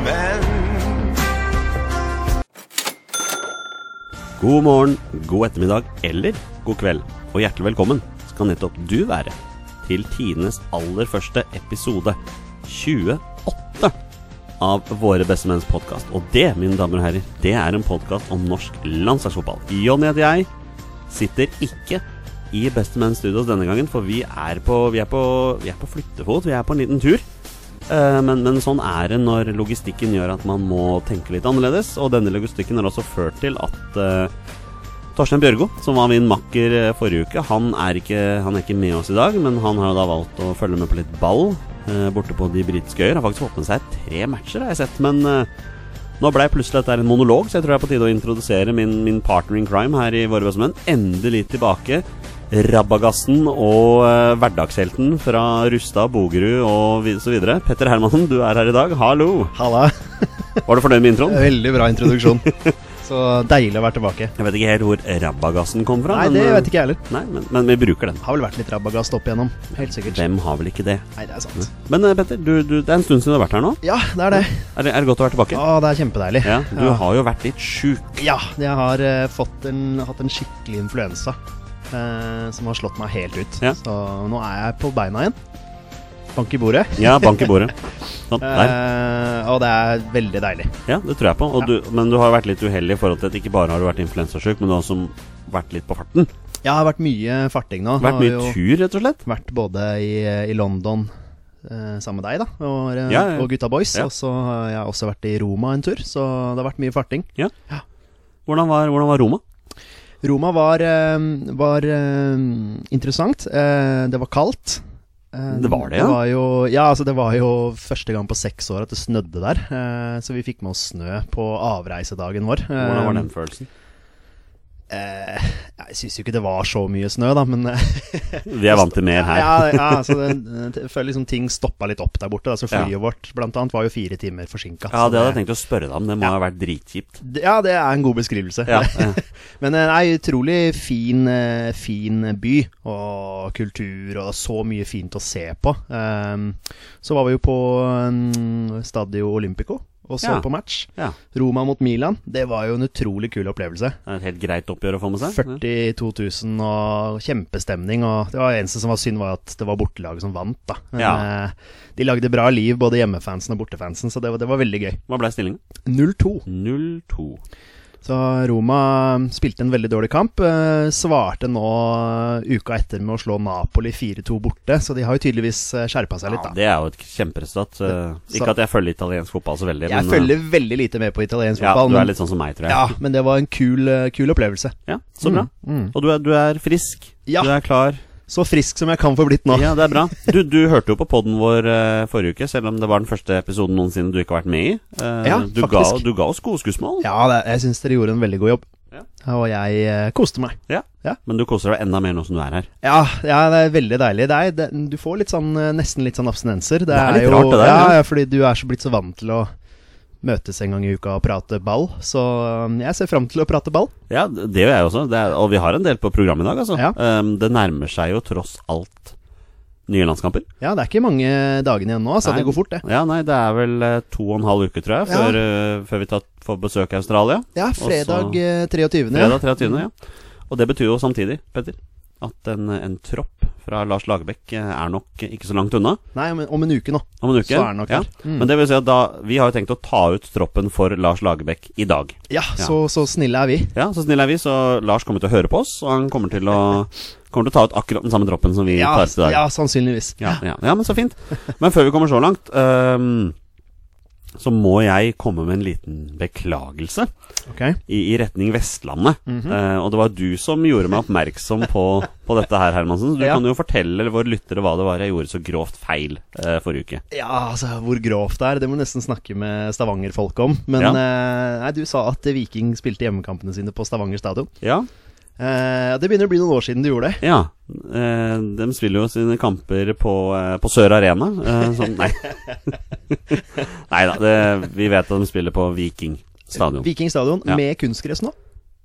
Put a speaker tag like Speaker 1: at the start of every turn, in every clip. Speaker 1: menn.
Speaker 2: God morgen, god ettermiddag eller god kveld, og hjertelig velkommen skal nettopp du være til tidenes aller første episode 28 av Våre bestemenns podkast. Og det, mine damer og herrer, det er en podkast om norsk landslagsfotball. Jonny heter jeg, sitter ikke i Bestemenns Studios denne gangen, for vi er på, vi er på, vi er på flyttefot, vi er på en liten tur. Eh, Men, men sånn er det når logistikken gjør at man må tenke litt annerledes. Og denne logistikken har også ført til at eh, Torstein Bjørgo, som var min makker eh, forrige uke, han er, ikke, han er ikke med oss i dag. Men han har jo da valgt å følge med på litt ball eh, borte på de britiske øyer. Har faktisk fått med seg tre matcher, har jeg sett. Men eh, nå blei plutselig dette her en monolog, så jeg tror det er på tide å introdusere min, min partner in crime her i Våre bestemenn. Endelig tilbake. Rabagassen og eh, hverdagshelten fra Rustad, Bogerud og vi- så videre. Petter Hermansen, du er her i dag. Hallo!
Speaker 3: Halla.
Speaker 2: Var du fornøyd med introen?
Speaker 3: Veldig bra introduksjon. Så deilig å være tilbake.
Speaker 2: Jeg vet ikke helt hvor rabagassen kom fra. eh,
Speaker 3: Nei, det vet ikke jeg heller.
Speaker 2: Nei, men, men vi bruker den.
Speaker 3: Har vel vært litt rabagast opp igjennom. Helt sikkert.
Speaker 2: Hvem har vel ikke det?
Speaker 3: Nei, det er sant.
Speaker 2: Men eh, Petter, du, du, det er en stund siden du har vært her nå.
Speaker 3: Ja, det er det.
Speaker 2: Er det, er det godt å være tilbake?
Speaker 3: Å, det er kjempedeilig.
Speaker 2: Ja, Du
Speaker 3: Ja.
Speaker 2: har jo vært litt sjuk.
Speaker 3: Ja, jeg har eh, fått en, hatt en skikkelig influensa eh, som har slått meg helt ut.
Speaker 2: Ja.
Speaker 3: Så nå er jeg på beina igjen. Bank i bordet.
Speaker 2: Ja, bank i bordet. Sånn, der.
Speaker 3: Eh, og det er veldig deilig.
Speaker 2: Ja, det tror jeg på. Og du, men du har vært litt uheldig i forhold til at ikke bare har du vært influensasjuk, men du har også vært litt på farten.
Speaker 3: Jeg har vært mye farting nå.
Speaker 2: Vært
Speaker 3: har
Speaker 2: mye
Speaker 3: jo
Speaker 2: tur, rett og slett.
Speaker 3: vært både i, i London eh, sammen med deg, da, og, eh,
Speaker 2: Ja, ja.
Speaker 3: og gutta boys.
Speaker 2: Ja.
Speaker 3: Og så har jeg også vært i Roma en tur, så det har vært mye farting.
Speaker 2: Hvordan var, hvordan var Roma?
Speaker 3: Roma var, eh, var eh, interessant. Eh, det var kaldt. Eh,
Speaker 2: Det var det, ja.
Speaker 3: ja. Det var, jo, ja altså det var jo første gang på seks år at det snødde der. eh, så vi fikk med oss snø på avreisedagen vår. Eh,
Speaker 2: Hvordan var den følelsen?
Speaker 3: Eh, jeg syns jo ikke det var så mye snø, da, men eh,
Speaker 2: Vi er vant til mer her.
Speaker 3: Ja, ja så det, jeg føler liksom ting stoppa litt opp der borte. Da. Så flyet vårt blant annet var jo fire timer forsinka.
Speaker 2: Ja, det hadde jeg tenkt å spørre deg om. Det må ha vært dritkjipt.
Speaker 3: Ja, det er en god beskrivelse.
Speaker 2: Ja,
Speaker 3: Men eh, nei, utrolig fin, eh, fin by og kultur og så mye fint å se på. Ehm, Så var vi jo på mm, Stadio Olimpico og så
Speaker 2: Ja.
Speaker 3: på match.
Speaker 2: ja.
Speaker 3: Roma mot Milan. Det var jo en utrolig kul opplevelse.
Speaker 2: Det er et helt greit oppgjør å få med seg.
Speaker 3: 42 000 og kjempestemning. Og det var eneste som var synd, var at det var bortelaget som vant, da. Men
Speaker 2: Ja.
Speaker 3: eh, de lagde bra liv, både hjemmefansen og bortefansen, så det var, det var veldig gøy.
Speaker 2: Hva ble stillingen?
Speaker 3: 0-2.
Speaker 2: 0-2.
Speaker 3: Så Roma eh, spilte en veldig dårlig kamp. eh, Svarte nå eh, uka etter med å slå Napoli 4-2 borte, så de har jo tydeligvis skjerpa seg litt,
Speaker 2: Ja,
Speaker 3: da.
Speaker 2: det er jo et kjemperesultat. eh, Ikke at jeg følger italiensk fotball så veldig.
Speaker 3: Jeg
Speaker 2: men, eh,
Speaker 3: følger veldig lite med på italiensk
Speaker 2: ja,
Speaker 3: fotball,
Speaker 2: Du er
Speaker 3: men,
Speaker 2: litt sånn som meg, tror jeg.
Speaker 3: ja, men det var en kul, eh, kul opplevelse.
Speaker 2: Ja, Så bra. Og du er, du er frisk.
Speaker 3: Mm, Ja.
Speaker 2: Du er klar.
Speaker 3: Så frisk som jeg kan få blitt nå.
Speaker 2: Ja, det er bra. Du, du hørte jo på poden vår eh, forrige uke, selv om det var den første episoden noensinne du ikke har vært med i. Eh,
Speaker 3: Ja,
Speaker 2: du, ga,
Speaker 3: faktisk.
Speaker 2: du ga oss gode skussmål,
Speaker 3: Ja, det, jeg syns dere gjorde en veldig god jobb.
Speaker 2: Ja.
Speaker 3: Og jeg eh, koste meg.
Speaker 2: men du koser deg enda mer nå som du er her.
Speaker 3: Ja, ja, det er veldig deilig. Det er, det, du får litt sånn, eh, nesten litt sånn abstinenser. Det,
Speaker 2: er litt
Speaker 3: jo,
Speaker 2: rart det der,
Speaker 3: Ja,
Speaker 2: ja.
Speaker 3: ja, fordi du er så blitt så vant til å møtes en gang i uka og prate ball. Så eh, jeg ser fram til å prate ball.
Speaker 2: Ja, det det gjør jeg også. Det er, og vi har en del på programmet i dag, altså.
Speaker 3: Ja.
Speaker 2: Eh, det nærmer seg jo tross alt nye landskamper.
Speaker 3: Ja, det er ikke mange dagene igjen nå, så
Speaker 2: Nei.
Speaker 3: det går fort, det.
Speaker 2: Ja, nei, det er vel eh, to og en halv uke, tror jeg,
Speaker 3: Ja.
Speaker 2: før, eh, før vi tar, får besøk av Australia.
Speaker 3: Ja, fredag
Speaker 2: så-
Speaker 3: eh, 23.
Speaker 2: Fredag 23., ja. Og det betyr jo samtidig, Petter, at en, eh, en tropp fra Lars Lagerbäck eh, er nok ikke så langt unna
Speaker 3: Nei, om, en- om en uke nå.
Speaker 2: om en uke.
Speaker 3: Så er han nok
Speaker 2: ja.
Speaker 3: her. Mm.
Speaker 2: Men det vil si at da Vi har jo tenkt å ta ut troppen for Lars Lagerbäck i dag.
Speaker 3: Ja, Så, så snille er vi.
Speaker 2: Ja, så snille er vi, så Lars kommer til å høre på oss, og han kommer til å, kommer til å ta ut akkurat den samme troppen som vi
Speaker 3: Ja,
Speaker 2: tar ut i dag.
Speaker 3: ja sannsynligvis.
Speaker 2: Ja, ja, ja, men så fint. Men før vi kommer så langt, ehm, så må jeg komme med en liten beklagelse
Speaker 3: Ok.
Speaker 2: i, i retning Vestlandet.
Speaker 3: Mhm.
Speaker 2: Eh, og det var du som gjorde meg oppmerksom på, på dette her, Hermansen. Så du
Speaker 3: Ja.
Speaker 2: kan jo fortelle våre lyttere hva det var jeg gjorde så grovt feil eh, forrige uke.
Speaker 3: Ja, altså hvor grovt det er, det må du nesten snakke med Stavanger-folk om. Men
Speaker 2: Ja.
Speaker 3: eh, nei, du sa at Viking spilte hjemmekampene sine på Stavanger stadion.
Speaker 2: Ja,
Speaker 3: Eh, det begynner å bli noen år siden du gjorde det.
Speaker 2: ja. Eh, de spiller jo sine kamper på, eh, på Sør Arena. Eh, som, nei. nei da, det, vi vet at de spiller på Viking stadion.
Speaker 3: Viking stadion
Speaker 2: Ja.
Speaker 3: med kunstgress nå.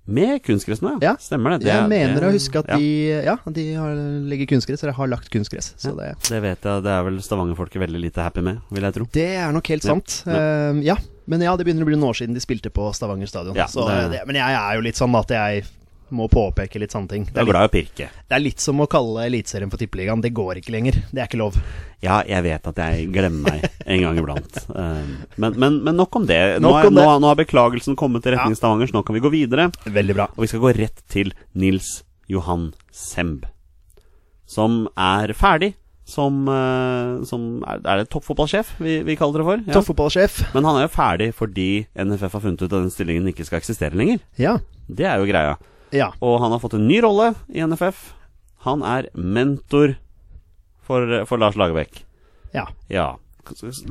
Speaker 2: Med kunstgressnå, ja.
Speaker 3: Ja.
Speaker 2: Stemmer det. det
Speaker 3: Jeg mener å
Speaker 2: det-
Speaker 3: huske at
Speaker 2: ja.
Speaker 3: de, ja, de har, legger kunstgress, eller har lagt kunstgress. Så det,
Speaker 2: Det vet jeg, det er vel stavangerfolket veldig lite happy med, vil jeg tro.
Speaker 3: det er nok helt
Speaker 2: Ja.
Speaker 3: sant. Eh, ja. Men ja, det begynner å bli noen år siden de spilte på Stavanger stadion.
Speaker 2: Ja,
Speaker 3: så,
Speaker 2: det-
Speaker 3: eh, det, men jeg er jo litt sånn at jeg må påpeke litt sånne ting.
Speaker 2: Du
Speaker 3: Det
Speaker 2: er
Speaker 3: er litt,
Speaker 2: glad i å pirke.
Speaker 3: det er litt som å kalle Eliteserien for Tippeligaen. Det går ikke lenger. Det er ikke lov.
Speaker 2: Ja, jeg vet at jeg glemmer meg en gang iblant. Um, Men, men, men nok om det. Nå,
Speaker 3: Nok
Speaker 2: er,
Speaker 3: om
Speaker 2: nå,
Speaker 3: det.
Speaker 2: nå har beklagelsen kommet til
Speaker 3: Ja.
Speaker 2: retning Stavangers, nå kan vi gå videre.
Speaker 3: Veldig bra.
Speaker 2: Og vi skal gå rett til Nils Johan Semb, som er ferdig som, eh, som er, er det toppfotballsjef vi, vi kaller det for? Ja.
Speaker 3: Toppfotballsjef.
Speaker 2: Men han er jo ferdig fordi NFF har funnet ut at den stillingen ikke skal eksistere lenger.
Speaker 3: Ja.
Speaker 2: Det er jo greia.
Speaker 3: ja.
Speaker 2: Og han har fått en ny rolle i NFF. Han er mentor for, for Lars Lagerbäck.
Speaker 3: Ja.
Speaker 2: Ja.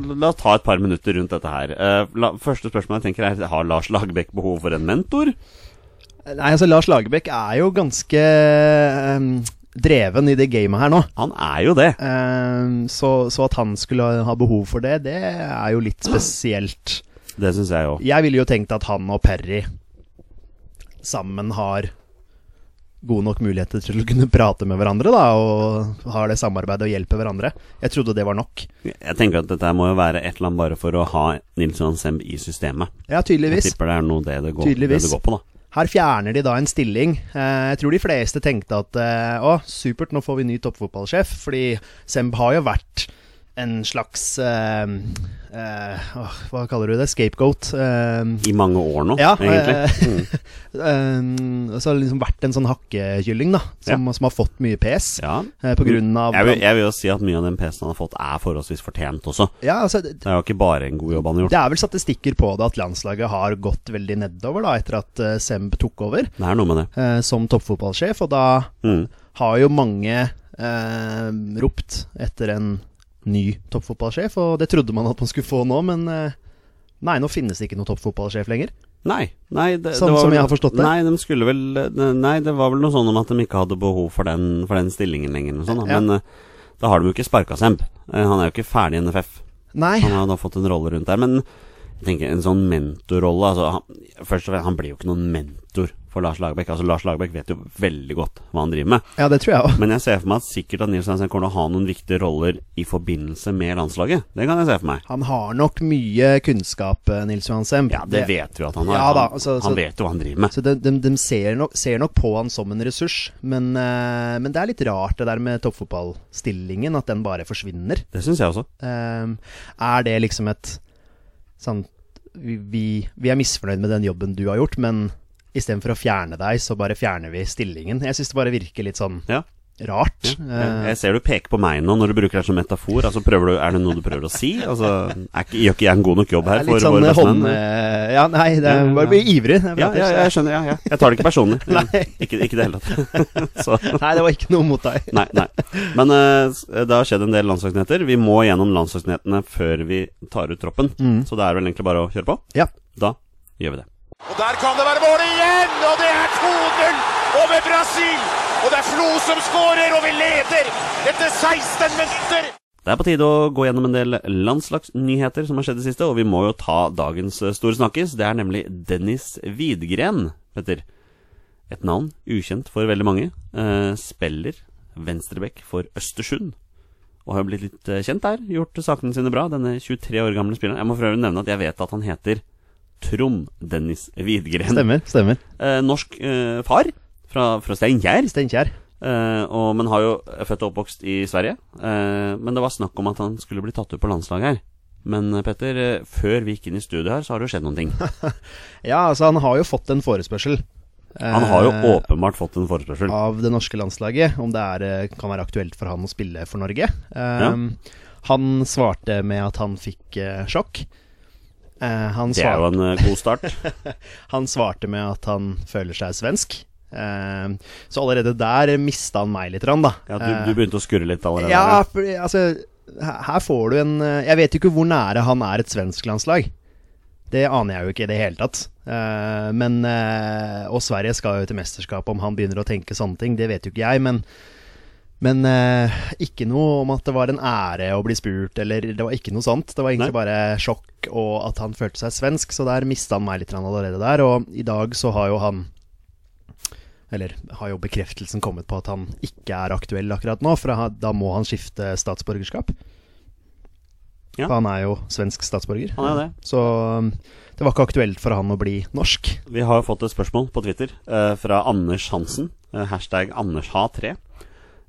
Speaker 2: La oss ta et par minutter rundt dette her. Eh, La, første spørsmål jeg tenker er Har Lars Lagerbäck behov for en mentor?
Speaker 3: Nei, altså Lars Lagerbäck er jo ganske ehm, dreven i det gamet her nå.
Speaker 2: Han er jo det.
Speaker 3: Ehm, så, så at han skulle ha behov for det, det er jo litt spesielt.
Speaker 2: Det syns jeg òg.
Speaker 3: Jeg ville jo tenkt at han og Perry sammen har gode nok muligheter til å kunne prate med hverandre, da, og har det samarbeidet og hjelper hverandre. Jeg trodde det var nok.
Speaker 2: Jeg tenker at dette her må jo være et eller annet bare for å ha Nils Johan Semb i systemet.
Speaker 3: Ja,
Speaker 2: Jeg
Speaker 3: tydeligvis.
Speaker 2: tipper det er noe det det går, det
Speaker 3: Tydeligvis.
Speaker 2: det går på, da.
Speaker 3: Her fjerner de da en stilling. Eh, jeg tror de fleste tenkte at eh, å, supert, nå får vi ny toppfotballsjef. Fordi Semb har jo vært en slags eh, eh, åh, Hva kaller du det? Scapegoat. Eh,
Speaker 2: I mange år nå,
Speaker 3: ja,
Speaker 2: egentlig. Mm.
Speaker 3: eh, eh, så har det liksom vært en sånn hakkekylling, da. Som, som har fått mye pes.
Speaker 2: Ja.
Speaker 3: eh, På grunn av
Speaker 2: Jeg vil, jeg vil jo si at mye av den PC-en han har fått, er forholdsvis fortjent også.
Speaker 3: Ja, altså, det-
Speaker 2: Det er jo ikke bare en god jobb han har gjort.
Speaker 3: det er vel statistikker på det at landslaget har gått veldig nedover da etter at eh, Semb tok over
Speaker 2: Det er noe med det.
Speaker 3: eh, som toppfotballsjef. Og da
Speaker 2: Mm.
Speaker 3: har jo mange eh, ropt etter en ny toppfotballsjef, og det trodde man at man skulle få nå, men eh, nei, nå finnes det ikke noen toppfotballsjef lenger.
Speaker 2: Nei, nei det,
Speaker 3: Sånn
Speaker 2: det var
Speaker 3: som
Speaker 2: vel-
Speaker 3: jeg har forstått det?
Speaker 2: Nei, de skulle vel eh, Nei, det var vel noe sånn om at de ikke hadde behov for den, for den stillingen lenger. eller Noe sånt, da.
Speaker 3: Ja.
Speaker 2: Men eh, da har de jo ikke sparka Semb. Eh, Han er jo ikke ferdig i NFF.
Speaker 3: Nei,
Speaker 2: Han har jo da fått en rolle rundt der. Men jeg tenker en sånn mentorrolle altså, han, Først og fremst, han blir jo ikke noen mentor for Lars Lagerbäck. Altså, Lars Lagerbäck vet jo veldig godt hva han driver med.
Speaker 3: ja det tror jeg òg.
Speaker 2: Men jeg ser for meg at sikkert at Nils Hansen kommer til å ha noen viktige roller i forbindelse med landslaget. Det kan jeg se for meg.
Speaker 3: Han har nok mye kunnskap, eh, Nils Johan Semb.
Speaker 2: Ja, det vet vi jo at han har.
Speaker 3: Ja da,
Speaker 2: Han-
Speaker 3: altså-
Speaker 2: han
Speaker 3: så-
Speaker 2: vet jo hva han driver med.
Speaker 3: Så de, de, de ser, nok, ser nok på han som en ressurs, men, eh, men det er litt rart det der med toppfotballstillingen, at den bare forsvinner.
Speaker 2: Det syns jeg også.
Speaker 3: Ehm, er det liksom et sånn vi, vi, vi er misfornøyd med den jobben du har gjort, men istedenfor å fjerne deg, så bare fjerner vi stillingen. Jeg syns det bare virker litt sånn
Speaker 2: Ja.
Speaker 3: rart.
Speaker 2: Jeg,
Speaker 3: Eh,
Speaker 2: jeg ser du peker på meg nå når du bruker det som metafor. Altså prøver du, Er det noe du prøver å si? Altså, er ikke, Gjør ikke jeg en god nok jobb
Speaker 3: det
Speaker 2: her?
Speaker 3: er litt
Speaker 2: for
Speaker 3: sånn
Speaker 2: våre bestemenn?
Speaker 3: hånd... eh, ja, nei, det er bare å bli ivrig. Jeg
Speaker 2: ja,
Speaker 3: prater,
Speaker 2: ja,
Speaker 3: så-
Speaker 2: jeg skjønner. Ja, ja. Jeg tar det ikke personlig.
Speaker 3: Nei.
Speaker 2: Ikke, ikke det hele tatt. Så,
Speaker 3: nei, det var ikke noe mot deg.
Speaker 2: nei, nei. Men eh, s- det har skjedd en del landslagsnyheter. Vi må gjennom landslagsnyhetene før vi tar ut troppen.
Speaker 3: Mm.
Speaker 2: Så det er vel egentlig bare å kjøre på.
Speaker 3: Ja.
Speaker 2: Da gjør vi det.
Speaker 1: Og der kan det være mål igjen! Og det er 2-0 over Brasil! Og det er Flo som skårer, og vi leder etter 16 minutter!
Speaker 2: Det er på tide å gå gjennom en del landslagsnyheter som har skjedd i det siste, og vi må jo ta dagens eh, store snakkis. Det er nemlig Dennis Widgren, Petter. Et navn ukjent for veldig mange. Eh, spiller venstrebekk for Østersund. Og har blitt litt eh, kjent der. Gjort sakene sine bra, denne 23 år gamle spilleren. Jeg må for øvrig nevne at jeg vet at han heter Trond Dennis Widgren.
Speaker 3: Stemmer. stemmer
Speaker 2: Eh, norsk eh, far fra, fra Steinkjer.
Speaker 3: Steinkjer.
Speaker 2: Eh, og, men har jo er født og oppvokst i Sverige. Eh, men det var snakk om at han skulle bli tatt ut på landslaget her. Men eh, Petter, eh, før vi gikk inn i studio her, så har det jo skjedd noen ting.
Speaker 3: Ja, altså han har jo fått en forespørsel.
Speaker 2: Han har jo
Speaker 3: eh,
Speaker 2: åpenbart fått en forespørsel.
Speaker 3: Av det norske landslaget, om det er, eh, kan være aktuelt for han å spille for Norge. Ehm, Han svarte med at han fikk eh, sjokk. Eh, han,
Speaker 2: Det er jo
Speaker 3: svarte,
Speaker 2: en eh, god start.
Speaker 3: han svarte med at han føler seg svensk. Ehm, så allerede der mista han meg litt, rann, da.
Speaker 2: Ja, du, du begynte å skurre litt allerede.
Speaker 3: Ja,
Speaker 2: der,
Speaker 3: for, altså her her får du en eh, Jeg vet jo ikke hvor nære han er et svensk landslag. Det aner jeg jo ikke i det hele tatt. Eh, Men eh, Og Sverige skal jo til mesterskapet, om han begynner å tenke sånne ting, det vet jo ikke jeg, men men eh, ikke noe om at det var en ære å bli spurt, eller det var ikke noe sånt. Det var egentlig
Speaker 2: Nei.
Speaker 3: bare sjokk og at han følte seg svensk, så der mista han meg litt grann allerede der. Og i dag så har jo han Eller har jo bekreftelsen kommet på at han ikke er aktuell akkurat nå, for ha- da må han skifte statsborgerskap.
Speaker 2: Ja.
Speaker 3: For han er jo svensk statsborger.
Speaker 2: Han er jo det.
Speaker 3: Så um, det var ikke aktuelt for han å bli norsk.
Speaker 2: Vi har jo fått et spørsmål på Twitter eh, fra Anders Hansen. eh, hashtag AndersH3.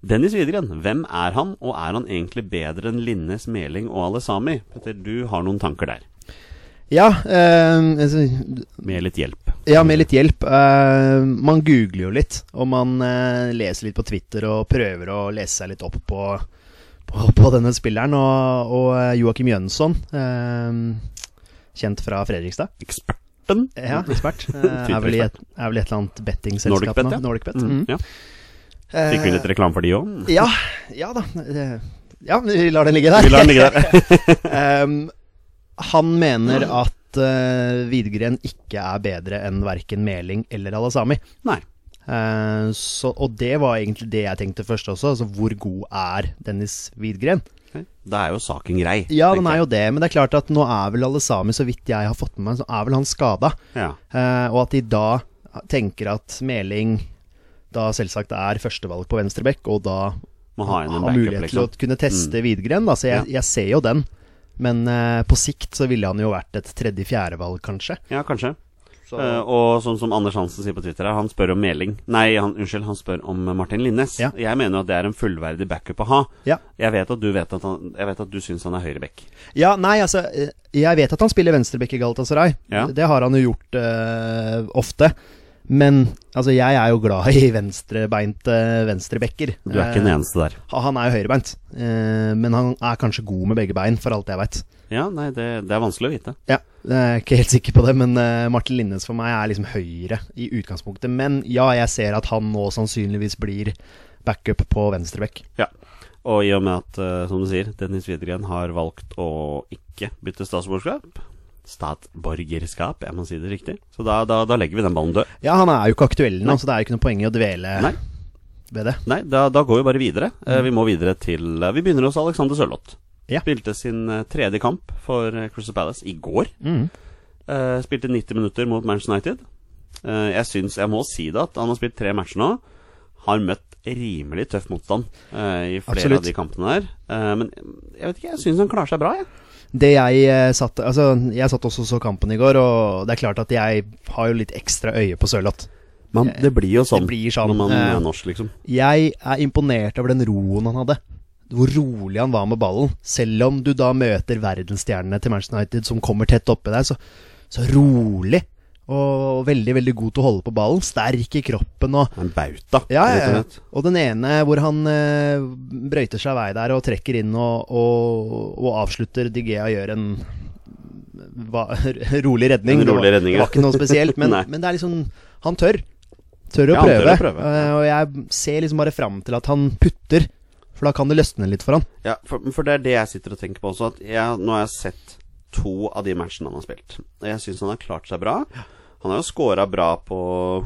Speaker 2: Dennis Widgren, hvem er han, og er han egentlig bedre enn Linnes, Meling og Alle Sami? Petter, du har noen tanker der,
Speaker 3: Ja, um, altså,
Speaker 2: med litt hjelp.
Speaker 3: Ja, med litt hjelp. Eh, man googler jo litt, og man eh, leser litt på Twitter og prøver å lese seg litt opp på, på, på denne spilleren. Og, og eh, Joakim Jønsson, eh, kjent fra Fredrikstad,
Speaker 2: Eksperten?
Speaker 3: ja, ekspert, eh, er, vel i et, er vel i et eller annet bettingselskap
Speaker 2: Nordicbet,
Speaker 3: nå.
Speaker 2: ja.
Speaker 3: Nordicbet.
Speaker 2: Mm,
Speaker 3: Mm.
Speaker 2: ja. Fikk vi litt reklame for de òg?
Speaker 3: Eh, ja, ja da. eh, Ja, vi lar den ligge der.
Speaker 2: Vi lar den ligge der.
Speaker 3: Ehm, han mener at uh, Widgren ikke er bedre enn verken Meling eller Alasami.
Speaker 2: Nei.
Speaker 3: Eh, så, og det var egentlig det jeg tenkte først også. Altså, hvor god er Dennis Widgren?
Speaker 2: Da er jo saken grei.
Speaker 3: Ja, den er jo det, men det er klart at nå er vel Alasami, så vidt jeg har fått med meg, så er vel han skada.
Speaker 2: Ja.
Speaker 3: Eh, og at de da tenker at Meling da selvsagt er førstevalg på venstrebekk, og da
Speaker 2: Må ha inn en
Speaker 3: har
Speaker 2: backup,
Speaker 3: mulighet
Speaker 2: liksom.
Speaker 3: til å kunne teste Widgren. Da, så jeg, jeg ser jo den. Men eh, på sikt så ville han jo vært et tredje-fjerdevalg, kanskje.
Speaker 2: Ja, kanskje.
Speaker 3: Så,
Speaker 2: Eh, og sånn som Anders Hansen sier på Twitter, her, han spør om Meling Nei, han, unnskyld, han spør om eh, Martin Linnes.
Speaker 3: Ja.
Speaker 2: Jeg mener jo at det er en fullverdig backup å ha.
Speaker 3: Ja.
Speaker 2: Jeg vet at du, vet at han, jeg vet at du syns han er høyreback.
Speaker 3: ja, nei, altså eh, Jeg vet at han spiller venstrebekk i Galatasaray.
Speaker 2: Ja.
Speaker 3: Det har han jo gjort eh, ofte. Men altså, jeg er jo glad i venstrebeinte venstrebekker.
Speaker 2: Du er ikke den
Speaker 3: Eh,
Speaker 2: eneste der.
Speaker 3: ha- han er jo høyrebeint, eh, men han er kanskje god med begge bein, for alt jeg veit.
Speaker 2: Ja, nei, det, det er vanskelig å vite.
Speaker 3: Ja, jeg er ikke helt sikker på det, men eh, Martin Linnes for meg er liksom høyre i utgangspunktet. Men ja, jeg ser at han nå sannsynligvis blir backup på venstreback.
Speaker 2: Ja. Og i og med at, eh, som du sier, Dennis Widgren har valgt å ikke bytte statsborgerskap Statsborgerskap, jeg må si det riktig. Så da, da, da legger vi den ballen død.
Speaker 3: Ja, han er jo ikke aktuell nå, så det er jo ikke noe poeng i å dvele
Speaker 2: Nei.
Speaker 3: ved det.
Speaker 2: Nei, da, da går vi bare videre. Eh, Vi må videre til eh, Vi begynner hos Alexander Sørloth.
Speaker 3: Ja.
Speaker 2: Spilte sin eh, tredje kamp for eh, Crystal Palace i går.
Speaker 3: Mm.
Speaker 2: Eh, Spilte 90 minutter mot Manchester United. Eh, Jeg syns jeg må si det at han har spilt tre matcher nå. Har møtt rimelig tøff motstand eh, i flere
Speaker 3: Absolutt.
Speaker 2: av de kampene der. Eh, Men jeg vet ikke, jeg syns han klarer seg bra, jeg.
Speaker 3: Det jeg eh, satt Altså, jeg satt også og så kampen i går, og det er klart at jeg har jo litt ekstra øye på Sørloth.
Speaker 2: Man, det blir jo sånn,
Speaker 3: Eh, Det blir sånn,
Speaker 2: når man
Speaker 3: eh.
Speaker 2: er norsk, liksom.
Speaker 3: Jeg er imponert over den roen han hadde. Hvor rolig han var med ballen. Selv om du da møter verdensstjernene til Manchester United som kommer tett oppi deg, så, så rolig. Og veldig, veldig god til å holde på ballen. Sterk i kroppen og
Speaker 2: En bauta,
Speaker 3: ja, ja,
Speaker 2: rett og
Speaker 3: ja.
Speaker 2: slett.
Speaker 3: Og den ene hvor han eh, brøyter seg vei der og trekker inn og, og, og avslutter Digea gjør en va, rolig redning.
Speaker 2: En rolig
Speaker 3: det, var,
Speaker 2: redning,
Speaker 3: det
Speaker 2: ja.
Speaker 3: var ikke noe spesielt, men,
Speaker 2: Nei.
Speaker 3: men det er liksom Han tør. Tør å
Speaker 2: Ja, han
Speaker 3: prøve.
Speaker 2: tør å prøve,
Speaker 3: Eh, og jeg ser liksom bare fram til at han putter, for da kan det løsne litt for han.
Speaker 2: Ja, for, for det er det jeg sitter og tenker på også. At jeg, nå har jeg sett to av de matchene han har spilt. Og Jeg syns han har klart seg bra. Han har jo scora bra på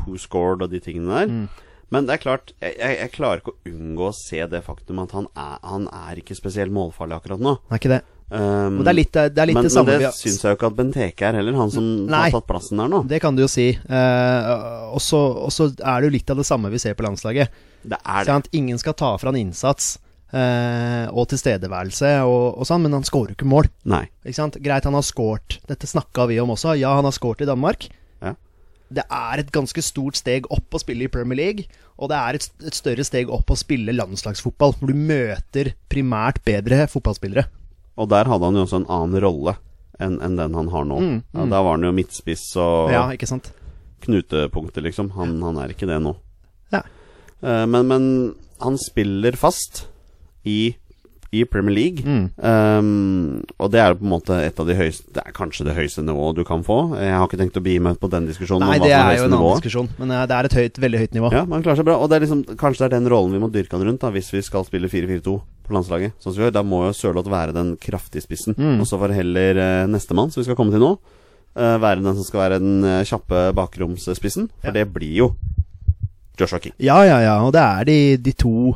Speaker 2: Who Scored og de tingene der.
Speaker 3: Mm.
Speaker 2: Men det er klart, jeg, jeg, jeg klarer ikke å unngå å se det faktum at han er, han er ikke spesielt målfarlig akkurat nå.
Speaker 3: Det er ikke det.
Speaker 2: Um,
Speaker 3: Men det er litt det, er litt
Speaker 2: men,
Speaker 3: det samme
Speaker 2: men
Speaker 3: vi
Speaker 2: det
Speaker 3: har-
Speaker 2: syns jeg jo ikke at Benteke er heller, han som
Speaker 3: Nei.
Speaker 2: har tatt plassen der nå.
Speaker 3: Det kan du jo si. Eh, og så og så er det jo litt av det samme vi ser på landslaget.
Speaker 2: Det er det.
Speaker 3: Sant? Ingen skal ta fra han innsats eh, og tilstedeværelse og, og sånn, men han skårer jo ikke mål.
Speaker 2: Nei.
Speaker 3: Ikke sant? Greit, han har scoret. Dette snakka vi om også. Ja, han har scoret i Danmark.
Speaker 2: Ja.
Speaker 3: Det er et ganske stort steg opp å spille i Premier League, og det er et, st- et større steg opp å spille landslagsfotball, hvor du møter primært bedre fotballspillere.
Speaker 2: Og der hadde han jo også en annen rolle enn enn den han har nå. Ja, da var han jo midtspiss og
Speaker 3: Mm, Ja, ikke sant?
Speaker 2: knutepunktet, liksom. Han, han er ikke det nå.
Speaker 3: Ja.
Speaker 2: Eh, men, men han spiller fast i, i Premier League.
Speaker 3: Mm.
Speaker 2: Ehm, og det er jo på en måte et av de høyeste Det er kanskje det høyeste nivået du kan få. Jeg har ikke tenkt å bli med på den diskusjonen.
Speaker 3: Nei,
Speaker 2: om hva
Speaker 3: det er
Speaker 2: som
Speaker 3: jo
Speaker 2: høyeste
Speaker 3: en annen
Speaker 2: nivået.
Speaker 3: diskusjon, men eh, det er et høyt, veldig høyt nivå.
Speaker 2: Ja, man klarer seg bra. Og det er liksom, kanskje det er den rollen vi må dyrke han rundt da hvis vi skal spille 4-4-2 på landslaget. Sånn som vi gjør Da må jo Sørloth være den kraftige spissen.
Speaker 3: Mm.
Speaker 2: Og så får heller eh, nestemann, som vi skal komme til nå, eh, være den som skal være den eh, kjappe bakromsspissen. For det blir jo Joshua King.
Speaker 3: Ja, ja, ja. Og det er de, de to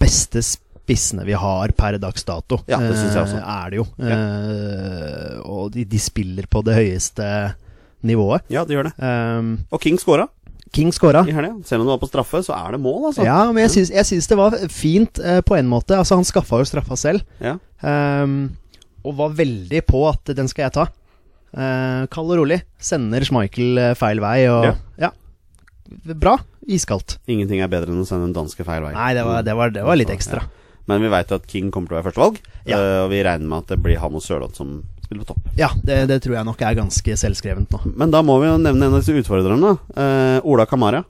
Speaker 3: beste spissene vi har per dags dato.
Speaker 2: Ja, det synes jeg også.
Speaker 3: Eh, Er det jo. Eh, og de, de spiller på det høyeste nivået.
Speaker 2: Ja, det gjør det.
Speaker 3: Um,
Speaker 2: Og King scora.
Speaker 3: King skåra.
Speaker 2: i helga. Selv om det var på straffe, så er det mål, altså.
Speaker 3: Ja, men jeg syns, jeg syns det var fint eh, på en måte. Altså, han skaffa jo straffa selv.
Speaker 2: Ja.
Speaker 3: ehm, og var veldig på at den skal jeg ta. Eh, kald og rolig. Sender Schmeichel eh, feil vei og
Speaker 2: Ja.
Speaker 3: ja. Bra. Iskaldt.
Speaker 2: Ingenting er bedre enn å sende en danske feil vei.
Speaker 3: Nei, det var, det var, det var litt
Speaker 2: Ja.
Speaker 3: ekstra.
Speaker 2: Men vi veit at King kommer til å være førstevalg,
Speaker 3: Ja.
Speaker 2: eh, og vi regner med at det blir han og Sørloth som spiller på topp.
Speaker 3: Ja, det, det tror jeg nok er ganske selvskrevent nå.
Speaker 2: Men da må vi jo nevne en av disse utfordrerne. Eh, Ola Kamara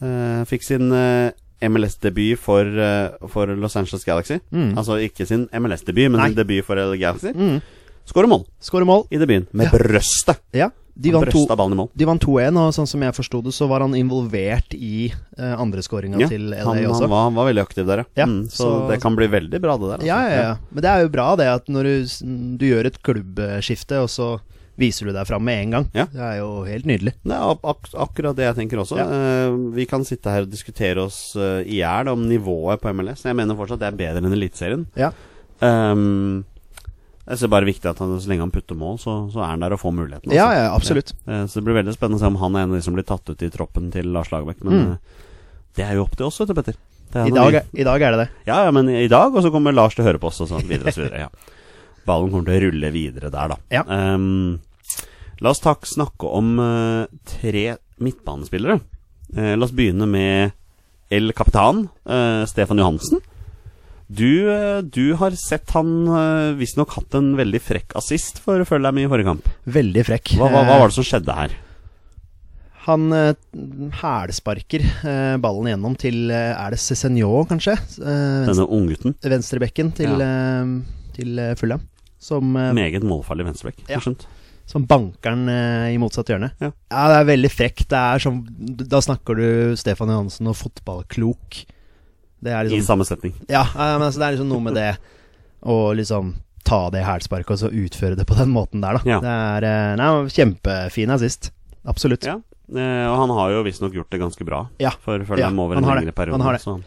Speaker 2: eh, fikk sin eh, MLS-debut for, eh, for Los Angeles Galaxy.
Speaker 3: Mm.
Speaker 2: Altså ikke sin MLS-debut, men
Speaker 3: Nei.
Speaker 2: sin debut for LA Galaxy.
Speaker 3: Mm.
Speaker 2: Skårer mål
Speaker 3: Skårer mål.
Speaker 2: i debuten med
Speaker 3: Ja.
Speaker 2: brøstet.
Speaker 3: Ja. De
Speaker 2: Han
Speaker 3: vant to-
Speaker 2: brøsta ballen i mål.
Speaker 3: de vant 2-1, og sånn som jeg forsto det, så var han involvert i eh, andreskåringa
Speaker 2: Ja,
Speaker 3: til LA
Speaker 2: han,
Speaker 3: også.
Speaker 2: han var, var veldig aktiv der,
Speaker 3: Ja,
Speaker 2: mm, så,
Speaker 3: så-
Speaker 2: det kan bli veldig bra, det der. altså.
Speaker 3: Ja, ja, ja. Men det er jo bra det at når du, s- du gjør et klubbskifte, og så viser du deg fram med en gang.
Speaker 2: Ja.
Speaker 3: Det er jo helt nydelig.
Speaker 2: Det er ak ak akkurat det jeg tenker også.
Speaker 3: Ja.
Speaker 2: Eh, vi kan sitte her og diskutere oss eh, i hjel om nivået på MLS. Jeg mener fortsatt det er bedre enn Eliteserien.
Speaker 3: Ja.
Speaker 2: Ehm, jeg synes det er bare viktig at han, så lenge han putter mål, så, så er han der og får muligheten.
Speaker 3: Ja,
Speaker 2: altså.
Speaker 3: ja, absolutt.
Speaker 2: Eh, så det blir veldig spennende å se om han er en av de som blir tatt ut i troppen til Lars Lagerbäck. Men
Speaker 3: Mm.
Speaker 2: eh, det er jo opp til oss, vet du, Petter. Det er
Speaker 3: I
Speaker 2: noe
Speaker 3: dag,
Speaker 2: vi-
Speaker 3: er- I dag er det det.
Speaker 2: ja, ja, men i dag, og så kommer Lars til å høre på oss, og sånn videre og så videre. Ja. Ballen kommer til å rulle videre der, da.
Speaker 3: Ja.
Speaker 2: Ehm, la oss tak snakke om eh, tre midtbanespillere. Eh, la oss begynne med El Kapitan, eh, Stefan Johansen. Du, eh, du har sett han uh, visstnok hatt en veldig frekk assist for følge dem i forrige kamp.
Speaker 3: Veldig frekk.
Speaker 2: Hva, hva, hva var det som skjedde her?
Speaker 3: Han eh, hælsparker eh, ballen igjennom til eh, Er det Cézinho, kanskje? Eh,
Speaker 2: Denne unggutten.
Speaker 3: venstre- Venstrebekken til, eh, til eh, Fulham. Som, eh,
Speaker 2: Meget målfarlig venstrebekk.
Speaker 3: Ja.
Speaker 2: har skjønt.
Speaker 3: som banker den eh, i motsatt hjørne.
Speaker 2: Ja.
Speaker 3: det er veldig frekt. Det er som, da snakker du Stefan Johansen og fotballklok. Det er
Speaker 2: I
Speaker 3: liksom
Speaker 2: samme setning.
Speaker 3: Ja, ja, men altså, det er liksom noe med det å liksom ta det hælsparket og så utføre det på den måten der, da.
Speaker 2: Ja.
Speaker 3: Det er eh, Nei, han var kjempefin assist. Absolutt.
Speaker 2: Ja, eh, og han har jo visstnok gjort det ganske bra.
Speaker 3: Ja.
Speaker 2: For følger
Speaker 3: Ja,
Speaker 2: dem over
Speaker 3: han
Speaker 2: en
Speaker 3: har det.
Speaker 2: lengre periode.
Speaker 3: Han har det.
Speaker 2: så-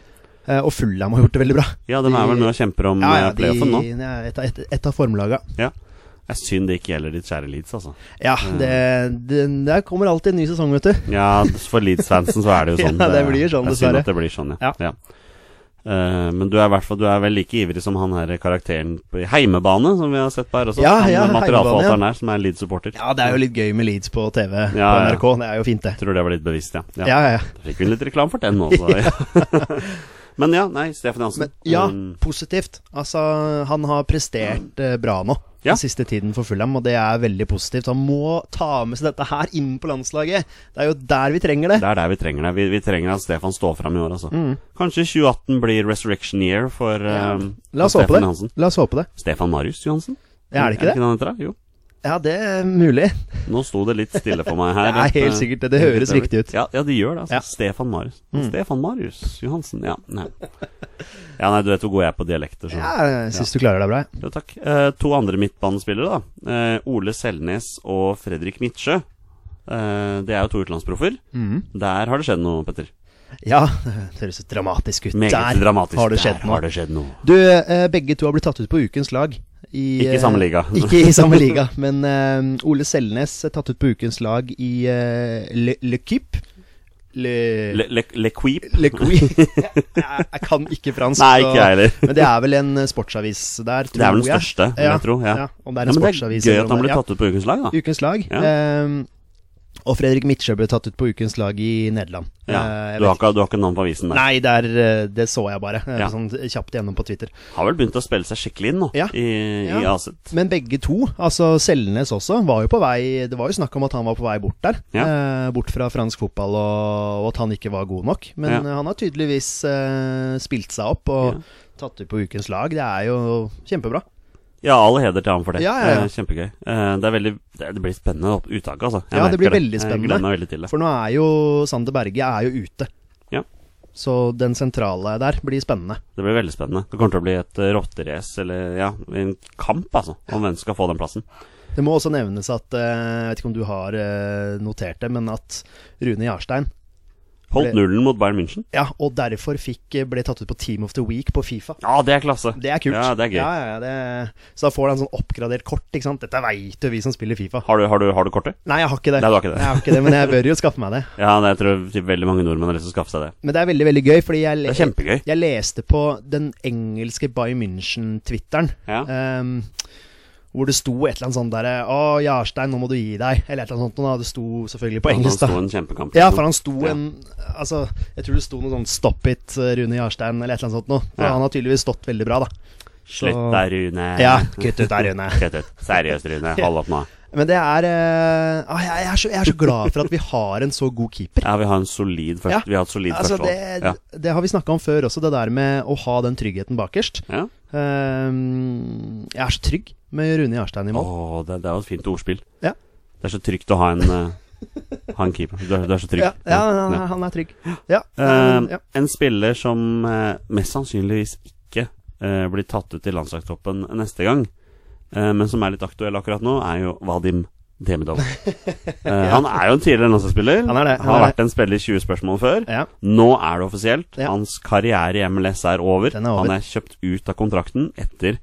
Speaker 3: Eh, og Fulham har gjort det veldig bra.
Speaker 2: Ja, de er vel med og kjemper om Mm, ja,
Speaker 3: de,
Speaker 2: playoffen nå.
Speaker 3: ja, et, av- et, et av formlaga.
Speaker 2: Jeg synd det ikke gjelder ditt kjære Leeds, altså.
Speaker 3: Ja, det, det Der kommer alltid en ny sesong, vet du.
Speaker 2: Ja, for Leeds-fansen så er det jo sånn.
Speaker 3: Ja, det blir sånn,
Speaker 2: det er synd
Speaker 3: dessverre.
Speaker 2: at det blir sånn, ja.
Speaker 3: Ja.
Speaker 2: ja. Eh, men du er, i hvert fall, du er vel like ivrig som han her karakteren på i heimebane, som vi har sett på her også.
Speaker 3: Ja,
Speaker 2: han
Speaker 3: ja, Heimebane,
Speaker 2: materialforvalteren her, som er Leeds-supporter.
Speaker 3: Ja, det er jo litt gøy med Leeds på TV på
Speaker 2: Ja, ja.
Speaker 3: NRK. Det er jo fint, det.
Speaker 2: Jeg tror det var litt bevisst, ja. ja.
Speaker 3: Ja, ja, ja.
Speaker 2: Da Fikk vi litt reklame for den også. men ja, nei, Stefan Jansen.
Speaker 3: Men ja,
Speaker 2: Mm,
Speaker 3: positivt. Altså, han har prestert eh, bra nå
Speaker 2: Ja.
Speaker 3: den siste tiden for Fulham, og det er veldig positivt. Han må ta med seg dette her inn på landslaget. Det er jo der vi trenger det.
Speaker 2: Det er der vi trenger det. Vi, vi trenger at Stefan står fram i år, altså. Kanskje 2018 blir resurrection year for,
Speaker 3: Mm. Ja.
Speaker 2: eh,
Speaker 3: La oss
Speaker 2: for
Speaker 3: håpe
Speaker 2: Stefan
Speaker 3: det.
Speaker 2: Johansen.
Speaker 3: La oss håpe det.
Speaker 2: Stefan Marius Johansen?
Speaker 3: Ja, Mm, er det ikke det?
Speaker 2: han heter da? Jo.
Speaker 3: Ja, det er mulig.
Speaker 2: Nå sto det litt stille for meg her.
Speaker 3: Det er
Speaker 2: Et,
Speaker 3: helt
Speaker 2: eh,
Speaker 3: sikkert det. Det høres
Speaker 2: øyeblikk.
Speaker 3: riktig ut.
Speaker 2: Ja, ja det gjør det. altså.
Speaker 3: Ja. Mm.
Speaker 2: Stefan Marius. Stefan Marius Johansen. Ja, nei. ja, nei, du vet hvor god jeg er på dialekter. Så.
Speaker 3: Ja, jeg syns du klarer deg bra. jeg.
Speaker 2: Jo, takk. Eh, to andre midtbanespillere, da. Eh, Ole Selnes og Fredrik Midtsjø. Eh, det er jo to utenlandsproffer.
Speaker 3: Mm.
Speaker 2: Der har det skjedd noe, Petter.
Speaker 3: Ja, det høres så dramatisk ut.
Speaker 2: Meget
Speaker 3: Der
Speaker 2: dramatisk.
Speaker 3: har det skjedd
Speaker 2: Der
Speaker 3: noe.
Speaker 2: har det skjedd noe.
Speaker 3: Du, eh, begge to har blitt tatt ut på ukens lag. I,
Speaker 2: Ikke i samme liga.
Speaker 3: eh, Ikke i samme liga, men eh, Ole Selnes er tatt ut på ukens lag i eh, Le, Le Kip. Le,
Speaker 2: Le, le, le Quip?
Speaker 3: Le Cui. jeg, jeg kan ikke fransk.
Speaker 2: Nei, ikke jeg heller.
Speaker 3: så- Men det er vel en eh, sportsavis der, tror jeg.
Speaker 2: Det er vel den største, vil jeg tro. Ja.
Speaker 3: ja. Om det er en
Speaker 2: Ja, men det er
Speaker 3: sportsavis
Speaker 2: gøy
Speaker 3: eller
Speaker 2: at
Speaker 3: om
Speaker 2: han
Speaker 3: det-
Speaker 2: ble tatt ut på ukens lag, da.
Speaker 3: ja, Ukens lag.
Speaker 2: Ja.
Speaker 3: ehm, og Fredrik Midtsjø ble tatt ut på Ukens lag i Nederland.
Speaker 2: Ja.
Speaker 3: Eh, jeg
Speaker 2: Du,
Speaker 3: vet ikke-
Speaker 2: har ikke, du har ikke navn på avisen der.
Speaker 3: Nei, der, eh, det så jeg bare. eh,
Speaker 2: Ja.
Speaker 3: Sånn kjapt igjennom på Twitter.
Speaker 2: Har vel begynt å spille seg skikkelig inn nå,
Speaker 3: Ja.
Speaker 2: i, i
Speaker 3: Ja.
Speaker 2: Aset.
Speaker 3: Men begge to, altså Selnes også, var jo på vei Det var jo snakk om at han var på vei bort der. eh, bort fra fransk fotball, og, og at han ikke var god nok. Men
Speaker 2: Ja.
Speaker 3: eh, han har tydeligvis eh, spilt seg opp og tatt ut på Ukens lag. Det er jo kjempebra.
Speaker 2: Ja, all heder til ham for det.
Speaker 3: Ja, ja, ja.
Speaker 2: Eh, Kjempegøy. Eh, Det, er veldig, det det blir spennende opp- uttak, altså. Jeg
Speaker 3: Ja, det blir
Speaker 2: merker
Speaker 3: veldig
Speaker 2: Jeg
Speaker 3: spennende.
Speaker 2: gleder meg veldig til det.
Speaker 3: For nå er jo Sander Berge er jo ute.
Speaker 2: Ja.
Speaker 3: Så den sentrale der blir spennende.
Speaker 2: Det blir veldig spennende. Det kommer til å bli et eh, rotterace, eller ja, en kamp, altså, om hvem som skal få den plassen.
Speaker 3: Det må også nevnes at eh, Jeg vet ikke om du har eh, notert det, men at Rune Jarstein
Speaker 2: Holdt nullen mot Bayern München.
Speaker 3: Ja, og derfor fikk, eh, ble tatt ut på Team of the Week på Fifa.
Speaker 2: Ja, det er klasse.
Speaker 3: Det er kult.
Speaker 2: Ja, det er gøy.
Speaker 3: Ja, ja, ja, det... Så da får du en sånn oppgradert kort. ikke sant? Dette veit jo vi som spiller Fifa.
Speaker 2: Har, du, har, du, har du kortet?
Speaker 3: Nei, jeg har ikke det.
Speaker 2: Nei, du har ikke det.
Speaker 3: Jeg har ikke det, Men jeg bør jo skaffe meg det.
Speaker 2: Ja, det, jeg tror typ, veldig mange nordmenn har lyst til å skaffe seg det.
Speaker 3: Men det er veldig veldig gøy, fordi jeg, le
Speaker 2: Det er kjempegøy.
Speaker 3: jeg leste på den engelske Bayern München-twitteren.
Speaker 2: Ja.
Speaker 3: ehm, hvor det sto et eller annet sånt derre Å, Jarstein, nå må du gi deg. Eller et eller annet sånt. noe da. Det sto selvfølgelig på
Speaker 2: Han
Speaker 3: engelsk,
Speaker 2: sto
Speaker 3: da.
Speaker 2: en kjempekamp.
Speaker 3: Ja, for han sto
Speaker 2: Ja.
Speaker 3: en Altså, jeg tror det sto noe sånn 'Stop it, Rune Jarstein', eller et eller annet sånt noe. For
Speaker 2: Ja.
Speaker 3: han har tydeligvis stått veldig bra, da.
Speaker 2: Slutt da, Rune.
Speaker 3: Ja, kutt ut der, Rune.
Speaker 2: Kutt ut. Seriøst, Rune. Hold opp nå.
Speaker 3: Men det er eh, ah, jeg, jeg, er så, jeg er så glad for at vi har en så god keeper.
Speaker 2: Ja, vi har en solid først.
Speaker 3: Ja.
Speaker 2: Vi har et solid
Speaker 3: Altså,
Speaker 2: førstevalg.
Speaker 3: det,
Speaker 2: Ja.
Speaker 3: det har vi snakka om før også, det der med å ha den tryggheten bakerst.
Speaker 2: Ja.
Speaker 3: Ehm, jeg er så trygg med Rune Jarstein i mål.
Speaker 2: Åh, det, det er jo et fint ordspill.
Speaker 3: Ja.
Speaker 2: Det er så trygt å ha en, eh, ha en keeper. Du er, du er så trygg.
Speaker 3: Ja, ja, han,
Speaker 2: Ja.
Speaker 3: er- han er trygg. Ja,
Speaker 2: Eh,
Speaker 3: men, ja.
Speaker 2: En spiller som eh, mest sannsynligvis ikke eh, blir tatt ut i landslagstroppen neste gang, eh, men som er litt aktuell akkurat nå, er jo Vadim Demidov. Eh, han er jo en tidligere landslagsspiller.
Speaker 3: Han er det, han
Speaker 2: har
Speaker 3: er
Speaker 2: vært en spiller i 20 spørsmål før.
Speaker 3: ja.
Speaker 2: Nå er det offisielt.
Speaker 3: Ja.
Speaker 2: Hans karriere i MLS er over.
Speaker 3: Den er over.
Speaker 2: Han er kjøpt ut av kontrakten etter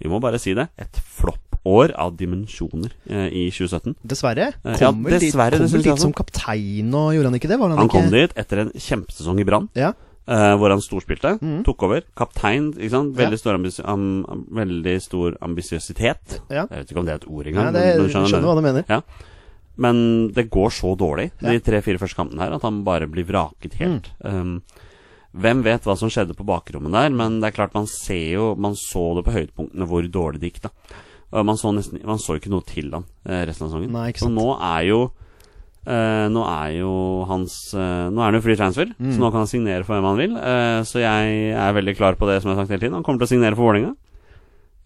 Speaker 2: vi må bare si det et floppår av dimensjoner eh, i 2017.
Speaker 3: Dessverre.
Speaker 2: Eh, ja,
Speaker 3: Kom vel
Speaker 2: dessverre, det
Speaker 3: dit, kom
Speaker 2: synes
Speaker 3: vel
Speaker 2: jeg
Speaker 3: dit som kaptein og gjorde han ikke det? Var han,
Speaker 2: Han
Speaker 3: ikke?
Speaker 2: kom dit etter en kjempesesong i Brann.
Speaker 3: Ja.
Speaker 2: eh, hvor han storspilte.
Speaker 3: Mhm.
Speaker 2: Tok over. Kaptein. ikke sant?
Speaker 3: Ja.
Speaker 2: Veldig stor, ambis am am- veldig stor ambisiøsitet.
Speaker 3: Ja.
Speaker 2: Jeg vet ikke om det er et ord engang.
Speaker 3: Nei, det,
Speaker 2: men, du
Speaker 3: skjønner,
Speaker 2: skjønner,
Speaker 3: hva du mener.
Speaker 2: men det går så dårlig
Speaker 3: Ja. Mm.
Speaker 2: de tre-fire første kampene her at han bare blir vraket helt. Um, hvem vet hva som skjedde på bakrommet der, men det er klart man ser jo Man så det på høydepunktene hvor dårlig det gikk, da. Og man så nesten Man så jo ikke noe til han eh, resten av sesongen.
Speaker 3: Nei, ikke
Speaker 2: Så
Speaker 3: sant.
Speaker 2: nå er jo eh, nå er jo hans eh, Nå er han jo free transfer,
Speaker 3: Mm.
Speaker 2: så nå kan han signere for hvem han vil. Eh, så jeg er veldig klar på det som jeg har sagt hele tiden. Han kommer til å signere for Vålerenga.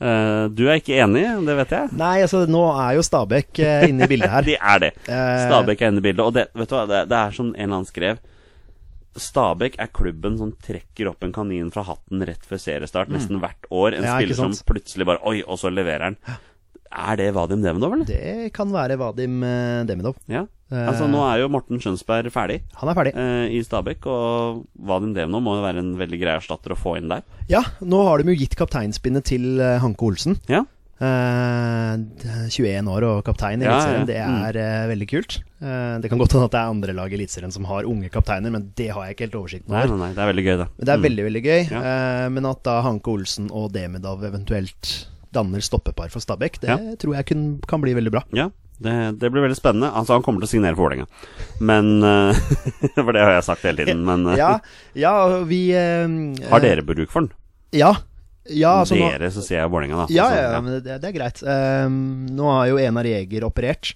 Speaker 2: Eh, du er ikke enig, det vet jeg.
Speaker 3: Nei, altså, nå er jo Stabæk eh, inne i bildet her.
Speaker 2: De er det.
Speaker 3: Eh,
Speaker 2: Stabæk er inne i bildet. Og det, vet du hva, det, det er som en eller annen skrev Stabæk er klubben som trekker opp en kanin fra hatten rett før seriestart nesten hvert år. En
Speaker 3: Mm. Ja, ikke
Speaker 2: spiller som
Speaker 3: sant?
Speaker 2: plutselig bare Oi, og så leverer han. Er det Vadim Demidov, eller?
Speaker 3: Det kan være Vadim eh, Demidov.
Speaker 2: Ja.
Speaker 3: Eh,
Speaker 2: Altså, nå er jo Morten Skjønsberg ferdig
Speaker 3: Han er ferdig.
Speaker 2: eh, i Stabæk, og Vadim Demidov må jo være en veldig grei erstatter å få inn der.
Speaker 3: Ja, nå har de jo gitt kapteinspinnet til eh, Hanke Olsen.
Speaker 2: Ja.
Speaker 3: Eh, d- 21 år og kaptein i
Speaker 2: Ja, Mm.
Speaker 3: Eliteserien,
Speaker 2: ja, ja.
Speaker 3: det er eh, veldig kult. Eh, det kan godt hende at det er andre lag i Eliteserien som har unge kapteiner, men det har jeg ikke helt oversikten
Speaker 2: Nei,
Speaker 3: over.
Speaker 2: nei, nei, det er veldig gøy, det. Mm.
Speaker 3: Men det er veldig, veldig gøy.
Speaker 2: Ja.
Speaker 3: Eh, men at da Hanke Olsen og Demidov eventuelt danner stoppepar for Stabæk, det
Speaker 2: Ja.
Speaker 3: tror jeg kun, kan bli veldig bra.
Speaker 2: Ja, det, det blir veldig spennende. Altså, han kommer til å signere for Vålerenga. Men eh, For det har jeg sagt hele tiden, men eh,
Speaker 3: Ja, ja og vi eh,
Speaker 2: Har dere bruk for den?
Speaker 3: Ja. ja altså, nå-
Speaker 2: dere, så sier jeg Vålerenga, da.
Speaker 3: Ja,
Speaker 2: Altså,
Speaker 3: ja, ja, men det, det er greit. Ehm, nå har jo Enar Jæger operert,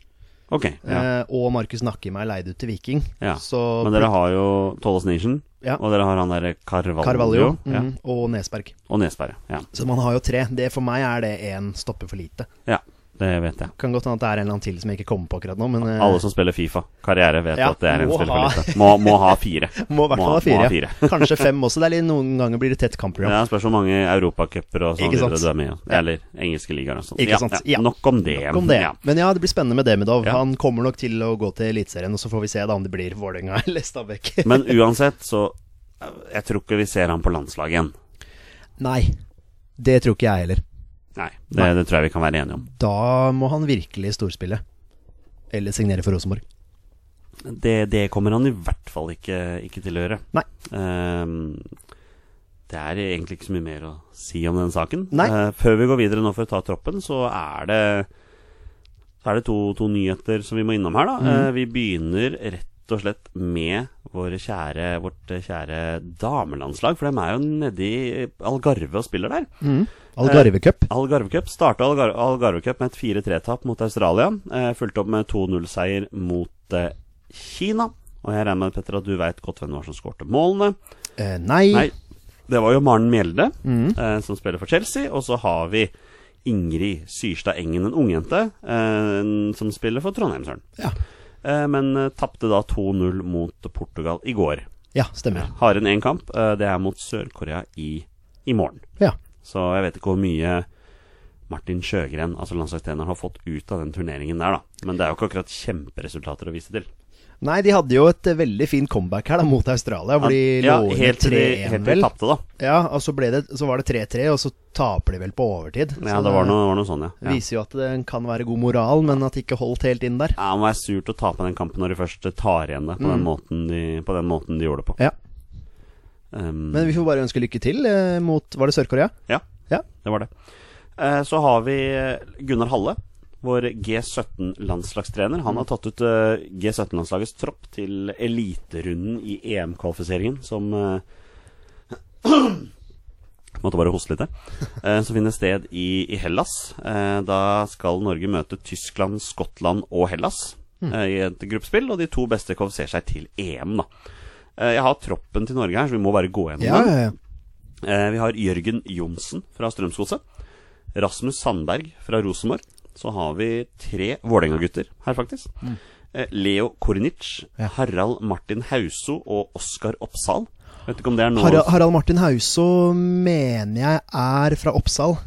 Speaker 2: Ok, ja.
Speaker 3: eh, og Markus Nakkeim er leid ut til Viking.
Speaker 2: ja.
Speaker 3: Så
Speaker 2: Men dere har jo Tollos Nilsen,
Speaker 3: Ja.
Speaker 2: og dere har han derre Carvalho,
Speaker 3: Carvalho mm,
Speaker 2: ja.
Speaker 3: og Nesberg.
Speaker 2: og Nesberg. Ja.
Speaker 3: Så man har jo tre. Det For meg er det én stopper for lite.
Speaker 2: ja, det vet jeg.
Speaker 3: Kan godt hende at det er en eller annen til som jeg ikke kommer på akkurat nå, men eh,
Speaker 2: Alle som spiller Fifa, karriere, vet
Speaker 3: Ja,
Speaker 2: at det er en
Speaker 3: må
Speaker 2: spiller
Speaker 3: ha-
Speaker 2: for lite. Må, må ha fire.
Speaker 3: eh, må i hvert fall ha
Speaker 2: må ha
Speaker 3: fire.
Speaker 2: fire.
Speaker 3: Kanskje fem også. Det er litt, noen ganger blir det tett kampprogram.
Speaker 2: Ja, spørs hvor mange europacuper og sånn
Speaker 3: Ikke sant?
Speaker 2: videre du er med i. da. Eller engelske ligaer og sånn.
Speaker 3: Ikke
Speaker 2: Ja,
Speaker 3: sant?
Speaker 2: ja.
Speaker 3: Ja.
Speaker 2: Nok om det.
Speaker 3: Om det.
Speaker 2: Ja.
Speaker 3: Men ja, det blir spennende med Demidov.
Speaker 2: Ja.
Speaker 3: Han kommer nok til å gå til Eliteserien, og så får vi se da om det blir Vålerenga eller Stabæk.
Speaker 2: Men uansett, så eh, Jeg tror ikke vi ser han på landslaget igjen.
Speaker 3: Nei, det tror ikke jeg heller.
Speaker 2: Nei, det, det tror jeg vi kan være enige om.
Speaker 3: Da må han virkelig storspille. Eller signere for Rosenborg.
Speaker 2: Det, det kommer han i hvert fall ikke, ikke til å gjøre.
Speaker 3: Nei.
Speaker 2: Ehm, det er egentlig ikke så mye mer å si om den saken.
Speaker 3: Nei.
Speaker 2: Eh, før vi går videre nå for å ta troppen, så er det, så er det to, to nyheter som vi må innom her, da.
Speaker 3: Mm.
Speaker 2: Eh, vi begynner rett og slett med våre kjære, vårt eh, kjære damelandslag, for de er jo nedi Algarve og spiller der.
Speaker 3: Algarve Cup.
Speaker 2: Algarve Cup starta Algar Algarve Cup med et 4-3-tap mot Australia. Eh, Fulgte opp med 2-0-seier mot eh, Kina. Og jeg regner med Petter, at du veit godt hvem det var som skårte målene.
Speaker 3: Eh, nei.
Speaker 2: Nei, det var jo Maren Mjelde, eh, som spiller for Chelsea. Og så har vi Ingrid Syrstad Engen, en ungjente, eh, som spiller for Trondheimsøren.
Speaker 3: Ja.
Speaker 2: Eh, men eh, tapte da 2-0 mot Portugal i går.
Speaker 3: ja, stemmer.
Speaker 2: Har en én kamp. eh, det er mot Sør-Korea i, i morgen.
Speaker 3: Ja.
Speaker 2: Så jeg vet ikke hvor mye Martin Sjøgren, altså landslagstreneren, har fått ut av den turneringen der, da. Men det er jo ikke akkurat kjemperesultater å vise til.
Speaker 3: Nei, de hadde jo et eh, veldig fint comeback her da, mot Australia, hvor de
Speaker 2: ja,
Speaker 3: lå under
Speaker 2: helt til de-
Speaker 3: 3-1,
Speaker 2: helt til de
Speaker 3: vel.
Speaker 2: tapte, da.
Speaker 3: Ja, og så, ble det, så var det 3-3, og så taper de vel på overtid.
Speaker 2: Ja,
Speaker 3: Så
Speaker 2: det var noe, var noe sånn, ja. ja.
Speaker 3: Viser jo at det kan være god moral, men at det ikke holdt helt inn der.
Speaker 2: Ja, Det må være surt å tape den kampen når de først tar igjen det på, den, måten de, på den måten de gjorde det på.
Speaker 3: Ja,
Speaker 2: Um,
Speaker 3: Men vi får bare ønske lykke til eh, mot Var det Sør-Korea?
Speaker 2: Ja,
Speaker 3: Ja.
Speaker 2: det var det. Eh, Så har vi eh, Gunnar Halle, vår G17-landslagstrener.
Speaker 3: Mm.
Speaker 2: Han har tatt ut eh, G17-landslagets tropp til eliterunden i EM-kvalifiseringen, som eh, Måtte bare hoste litt, jeg. Eh, Som finner sted i, i Hellas. Eh, Da skal Norge møte Tyskland, Skottland og Hellas
Speaker 3: Mm.
Speaker 2: eh, i et gruppespill, og de to beste kvalifiserer seg til EM, da. Eh, Jeg har troppen til Norge her, så vi må bare gå gjennom den.
Speaker 3: ja.
Speaker 2: Eh, vi har Jørgen Johnsen fra Strømsgodset. Rasmus Sandberg fra Rosenborg. Så har vi tre Vålerenga-gutter her, faktisk.
Speaker 3: Mm.
Speaker 2: Eh, Leo Kornic, Harald Martin Hauso og Oskar Oppsal. Vet ikke om det er noe
Speaker 3: Harald, Harald Martin Hauso mener jeg er fra Oppsal.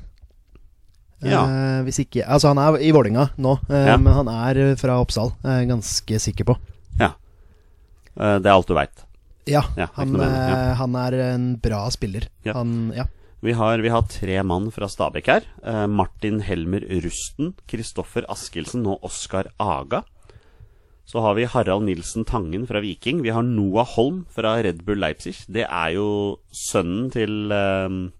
Speaker 2: Ja.
Speaker 3: Eh, hvis ikke Altså, han er i Vålinga nå, eh,
Speaker 2: Ja.
Speaker 3: men han er fra Oppsal. Er jeg ganske sikker på.
Speaker 2: Ja. Eh, det er alt du veit.
Speaker 3: Ja,
Speaker 2: Ja, ikke
Speaker 3: han,
Speaker 2: noe mer, ja.
Speaker 3: eh, han er en bra spiller.
Speaker 2: Ja.
Speaker 3: Han, ja.
Speaker 2: Vi har, vi har tre mann fra Stabekk her. Eh, Martin Helmer Rusten, Kristoffer Askildsen og Oskar Aga. Så har vi Harald Nilsen Tangen fra Viking. Vi har Noah Holm fra Red Bull Leipzig. Det er jo sønnen til eh,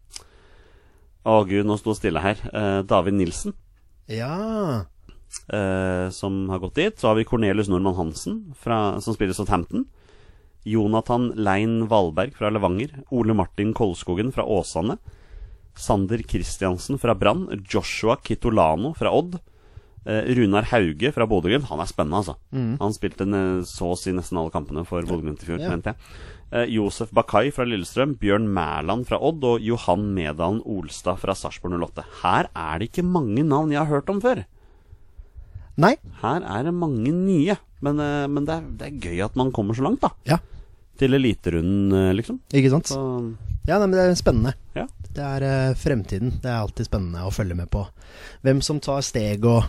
Speaker 2: Å gud, nå sto det stille her. Eh, David Nilsen,
Speaker 3: ja.
Speaker 2: eh, som har gått dit. Så har vi Cornelius Normann Hansen, fra, som spiller Southampton. Jonathan Lein Valberg fra Levanger. Ole Martin Kolskogen fra Åsane. Sander Kristiansen fra Brann. Joshua Kitolano fra Odd. Eh, Runar Hauge fra Bodø-Glimt. Han er spennende, altså. Han spilte ne- så å si nesten alle kampene for Bodø-Glimt i fjor,
Speaker 3: Mm. Ja.
Speaker 2: mente jeg. Eh, Josef Bakai fra Lillestrøm. Bjørn Mæland fra Odd. Og Johan Medalen Olstad fra Sarpsborg 08. Her er det ikke mange navn jeg har hørt om før.
Speaker 3: Nei.
Speaker 2: Her er det mange nye, men, eh, men det, er, det er gøy at man kommer så langt, da.
Speaker 3: Ja,
Speaker 2: Til eliterunden, eh, liksom.
Speaker 3: ikke sant?
Speaker 2: Så,
Speaker 3: Ja, nei, men det er spennende.
Speaker 2: ja.
Speaker 3: Det er eh, fremtiden. Det er alltid spennende å følge med på hvem som tar steg og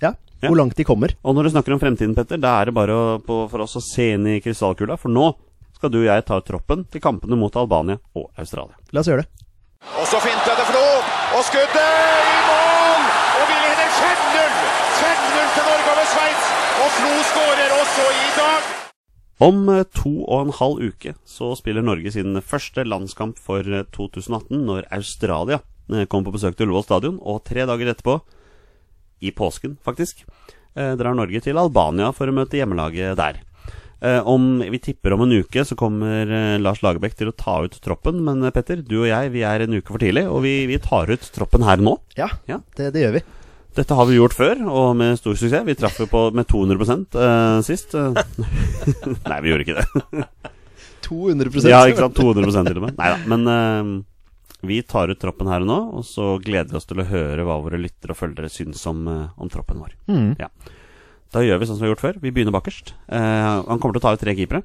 Speaker 3: ja,
Speaker 2: Ja.
Speaker 3: hvor langt de kommer.
Speaker 2: Og når du snakker om fremtiden, Petter, da er det bare å, på, for oss å se inn i krystallkula, for nå skal du og jeg ta ut troppen til kampene mot Albania og Australia.
Speaker 3: La oss gjøre det.
Speaker 1: Og så fintet det Flo, og skuddet i mål! Og vi leder 5-0! 5-0 til Norge over Sveits, og Flo skårer også i dag!
Speaker 2: Om eh, to og en halv uke så spiller Norge sin første landskamp for eh, 2018 når Australia eh, kommer på besøk til Ullevål stadion, og tre dager etterpå, i påsken faktisk, eh, drar Norge til Albania for å møte hjemmelaget der. Eh, Om vi tipper om en uke, så kommer eh, Lars Lagerbäck til å ta ut troppen. Men eh, Petter, du og jeg vi er en uke for tidlig, og vi, vi tar ut troppen her nå.
Speaker 3: Ja,
Speaker 2: Ja.
Speaker 3: Det, det gjør vi.
Speaker 2: Dette har vi gjort før, og med stor suksess. Vi traff jo på med 200 eh, sist. eh. Nei, vi gjorde ikke det.
Speaker 3: 200
Speaker 2: Ja, ikke sant. 200 til og med. Neida, Men eh, vi tar ut troppen her og nå, og så gleder vi oss til å høre hva våre lyttere og følgere syns om, eh, om troppen vår.
Speaker 3: Mm.
Speaker 2: Ja. Da gjør vi sånn som vi har gjort før. Vi begynner bakerst. Eh, han kommer til å ta ut tre keepere.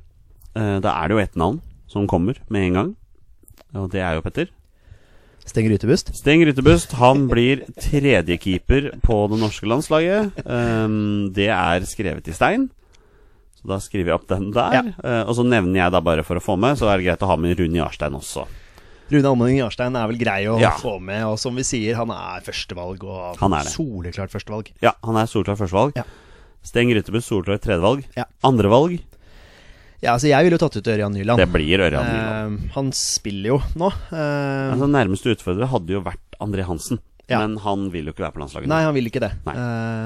Speaker 2: Eh, da er det jo ett navn som kommer med en gang. Og det er jo Petter.
Speaker 3: Stenger utebust.
Speaker 2: Steng Rytebust han blir tredjekeeper på det norske landslaget. Ehm, det er skrevet i stein. Så da skriver jeg opp den der. Eh, og så nevner jeg da bare for å få med, så er det greit å ha med Rune Jarstein også.
Speaker 3: Rune Almenning Jarstein er vel grei å
Speaker 2: Ja.
Speaker 3: få med, og som vi sier, han er førstevalg. Og
Speaker 2: Han er det.
Speaker 3: soleklart førstevalg.
Speaker 2: Ja, han er solklar førstevalg.
Speaker 3: Ja.
Speaker 2: Steng Rytebust solklar tredjevalg.
Speaker 3: Ja.
Speaker 2: Andrevalg,
Speaker 3: Ja, altså Jeg ville jo tatt ut Ørjan Nyland.
Speaker 2: det blir Ørjan Nyland.
Speaker 3: Eh, han spiller jo nå. Eh,
Speaker 2: Altså, nærmeste utfordrer hadde jo vært André Hansen,
Speaker 3: Ja.
Speaker 2: men han vil jo ikke være på landslaget. nå.
Speaker 3: nei, han vil ikke det.
Speaker 2: Nei.
Speaker 3: Eh,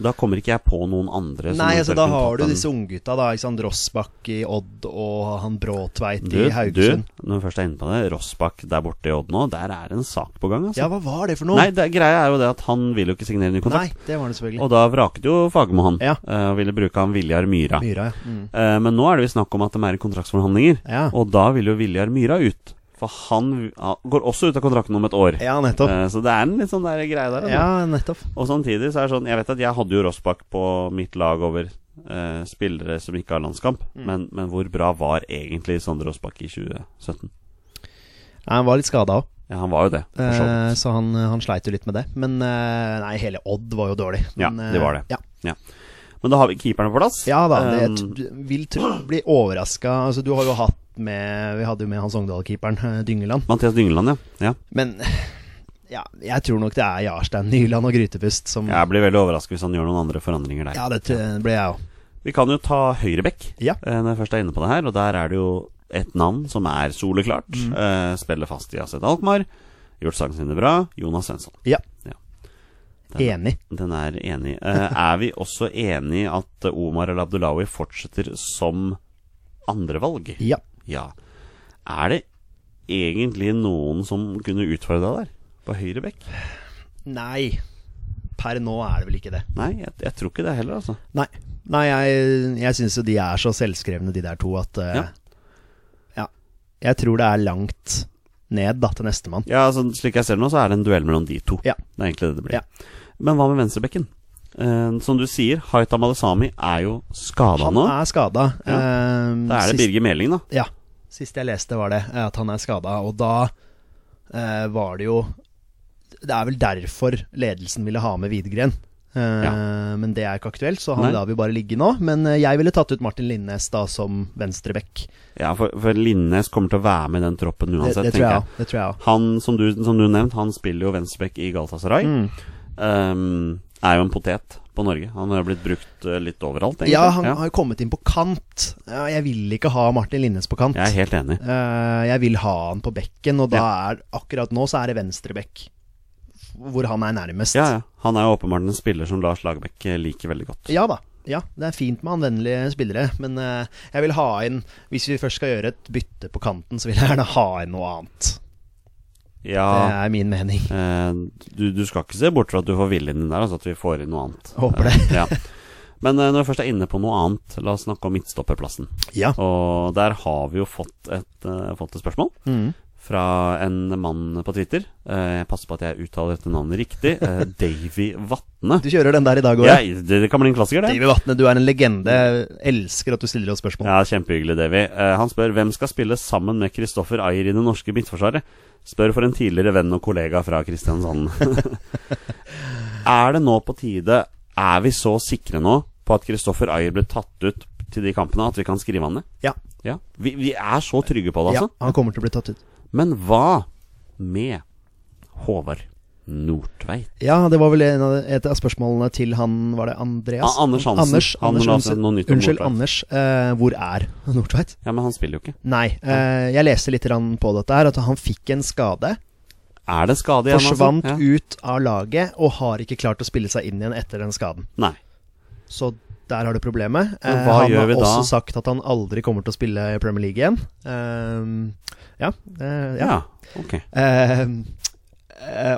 Speaker 2: Da kommer ikke jeg på noen andre. som
Speaker 3: Nei, altså
Speaker 2: eventuelt
Speaker 3: da
Speaker 2: kunne
Speaker 3: har
Speaker 2: tatt
Speaker 3: du
Speaker 2: den.
Speaker 3: disse unggutta, da. Ikke sant? Rossbakk i Odd og han Bråtveit
Speaker 2: du,
Speaker 3: i Haugesund.
Speaker 2: Du, når vi først er inne på det, Rossbakk der borte i Odd nå, der er en sak på gang, altså.
Speaker 3: Ja, hva var det for noe?
Speaker 2: Nei, det, greia er jo det at han vil jo ikke signere
Speaker 3: Nei,
Speaker 2: ny kontrakt.
Speaker 3: det var det selvfølgelig.
Speaker 2: Og da vraket jo Fagermo han,
Speaker 3: Ja.
Speaker 2: eh, og ville bruke han Viljar Myra.
Speaker 3: Myra, ja. Mm.
Speaker 2: Eh, men nå er det jo snakk om at de er i kontraktsforhandlinger,
Speaker 3: Ja.
Speaker 2: og da vil jo Viljar Myra ut. For han ja, går også ut av kontrakten om et år.
Speaker 3: ja, nettopp.
Speaker 2: Eh, så det er en litt sånn der greie der. altså.
Speaker 3: Ja, nettopp.
Speaker 2: Og samtidig så er det sånn Jeg vet at jeg hadde jo Rossbakk på mitt lag over eh, spillere som ikke har landskamp,
Speaker 3: Mm.
Speaker 2: men, men hvor bra var egentlig Sondre Rossbakk i 2017?
Speaker 3: Nei, han var litt skada òg,
Speaker 2: Ja, han var jo det. For så vidt.
Speaker 3: så han, han sleit jo litt med det. Men eh, nei, hele eh, Odd var jo dårlig.
Speaker 2: Ja,
Speaker 3: Men, eh,
Speaker 2: det var det.
Speaker 3: Ja.
Speaker 2: Ja. Men da har vi keeperne på plass.
Speaker 3: Ja da, det, jeg
Speaker 2: Um,
Speaker 3: t- vil tro, bli overraska. Altså, du har jo hatt med Vi hadde jo med Hans Ogndal-keeperen, eh, Dyngeland.
Speaker 2: Mathias Dyngeland, ja. ja.
Speaker 3: Men ja, jeg tror nok det er Jarstein Nyland og Grytepust som Ja,
Speaker 2: Jeg blir veldig overrasket hvis han gjør noen andre forandringer der.
Speaker 3: det t- ble jeg òg.
Speaker 2: Vi kan jo ta Høyrebekk
Speaker 3: Ja.
Speaker 2: eh, når jeg først er inne på det her, og der er det jo et navn som er soleklart. Eh, spiller fast i Aset Alkmaar. Gjort sangene sine bra. Jonas Svensson.
Speaker 3: Ja.
Speaker 2: Ja.
Speaker 3: Enig.
Speaker 2: Den er enig. Eh, er vi også enig i at Omar El Abdullawi fortsetter som andrevalg?
Speaker 3: Ja.
Speaker 2: Ja. Er det egentlig noen som kunne utfordra der? På Høyrebekk?
Speaker 3: Nei. Per nå er det vel ikke det.
Speaker 2: Nei, jeg, jeg tror ikke det heller, altså.
Speaker 3: Nei. Nei, jeg, jeg syns jo de er så selvskrevne, de der to, at eh,
Speaker 2: Ja.
Speaker 3: ja. Jeg tror det er langt ned, da, til nestemann.
Speaker 2: Ja, altså, Slik jeg ser det nå, så er det en duell mellom de to.
Speaker 3: Ja.
Speaker 2: Det er egentlig det det blir.
Speaker 3: Ja.
Speaker 2: Men hva med venstrebekken? Eh, som du sier, Haita Malesami er jo skada
Speaker 3: Han
Speaker 2: nå.
Speaker 3: er Ehm, skada.
Speaker 2: Ja. Da er det Birger Meling, da.
Speaker 3: Ja, sist jeg leste var det eh, at han er skada, og da eh, var det jo Det er vel derfor ledelsen ville ha med Widgren. Eh, Men det er ikke aktuelt, så han
Speaker 2: Nei.
Speaker 3: lar vi bare ligge nå. Men eh, jeg ville tatt ut Martin Linnes da som venstreback.
Speaker 2: Ja, for, for Linnes kommer til å være med i den troppen
Speaker 3: Det,
Speaker 2: uansett,
Speaker 3: det tror
Speaker 2: tenker
Speaker 3: jeg
Speaker 2: jeg.
Speaker 3: òg. Det tror jeg òg.
Speaker 2: Han, som du, som du nevnte, han spiller jo venstrebekk i Galatasaray.
Speaker 3: Mm.
Speaker 2: Eh, er jo en potet på Norge. Han har jo blitt brukt eh, litt overalt, egentlig.
Speaker 3: Ja, han har jo kommet inn på kant. Ja, Jeg vil ikke ha Martin Linnes på kant.
Speaker 2: Jeg er helt enig.
Speaker 3: Eh, jeg vil ha han på bekken, og da er akkurat nå så er det venstrebekk. Hvor han er nærmest.
Speaker 2: Ja, ja. Han er jo åpenbart en spiller som Lars Lagerbäck eh, liker veldig godt.
Speaker 3: Ja da. Ja, det er fint med anvendelige spillere, men eh, jeg vil ha inn Hvis vi først skal gjøre et bytte på kanten, så vil jeg gjerne ha inn noe annet.
Speaker 2: Ja,
Speaker 3: Det er min mening.
Speaker 2: Eh, du, du skal ikke se bort fra at du får viljen din der, altså at vi får inn noe annet.
Speaker 3: Håper det.
Speaker 2: Eh, ja. Men eh, når vi først er inne på noe annet, la oss snakke om midtstopperplassen.
Speaker 3: Ja.
Speaker 2: Og der har vi jo fått et, eh, fått et spørsmål
Speaker 3: Mm.
Speaker 2: fra en mann på Twitter. Eh, jeg passer på at jeg uttaler dette navnet riktig. Eh, Davy Vatne.
Speaker 3: Du kjører den der i dag òg,
Speaker 2: Ja,
Speaker 3: ja.
Speaker 2: det, det kan bli en klassiker, det.
Speaker 3: David Vatne, du er en legende. Jeg elsker at du stiller oss spørsmål.
Speaker 2: Ja, Kjempehyggelig, Davy. Eh, han spør hvem skal spille sammen med Kristoffer Ayer i det norske midtforsvaret. Spør for en tidligere venn og kollega fra Kristiansand. er det nå på tide Er vi så sikre nå på at Kristoffer Ayer blir tatt ut til de kampene at vi kan skrive han ned?
Speaker 3: Ja.
Speaker 2: Ja, vi, vi er så trygge på det,
Speaker 3: ja.
Speaker 2: altså.
Speaker 3: Han kommer til å bli tatt ut.
Speaker 2: Men hva med Håvard Nordtveit?
Speaker 3: Ja, det var vel en av, et av spørsmålene til han Var det Andreas?
Speaker 2: Ah, Anders Hansen.
Speaker 3: Anders,
Speaker 2: Han
Speaker 3: Anders,
Speaker 2: la oss noe nytt om
Speaker 3: unnskyld,
Speaker 2: Nordtveit.
Speaker 3: Anders. eh, hvor er Nordtveit?
Speaker 2: Ja, men han spiller jo ikke.
Speaker 3: Nei, eh, jeg leste litt grann på dette her, at han fikk en skade.
Speaker 2: Er det skade igjen? altså?
Speaker 3: forsvant
Speaker 2: Ja.
Speaker 3: ut av laget og har ikke klart å spille seg inn igjen etter den skaden.
Speaker 2: Nei.
Speaker 3: Så der har du problemet.
Speaker 2: Men
Speaker 3: Eh,
Speaker 2: hva
Speaker 3: han
Speaker 2: gjør
Speaker 3: har
Speaker 2: vi da?
Speaker 3: også sagt at han aldri kommer til å spille i Premier League igjen. Eh, ja. eh, ja.
Speaker 2: Ja, ok.
Speaker 3: Eh, eh,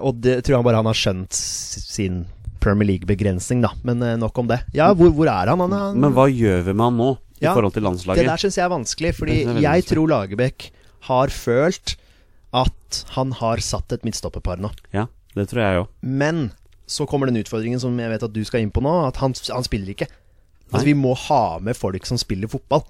Speaker 3: og det tror jeg bare han har skjønt s- sin Premier League-begrensning, da. Men eh, nok om det. Ja, hvor, hvor er han? han, han
Speaker 2: Men hva gjør vi med han nå, i
Speaker 3: Ja,
Speaker 2: forhold til landslaget?
Speaker 3: Det der syns jeg er vanskelig, fordi
Speaker 2: Det synes jeg er veldig
Speaker 3: jeg
Speaker 2: vanskelig.
Speaker 3: tror Lagerbäck har følt at han har satt et midtstopperpar nå.
Speaker 2: Ja, det tror jeg jo.
Speaker 3: Men så kommer den utfordringen som jeg vet at du skal inn på nå, at han, han spiller ikke.
Speaker 2: Nei.
Speaker 3: Altså, vi må ha med folk som spiller fotball.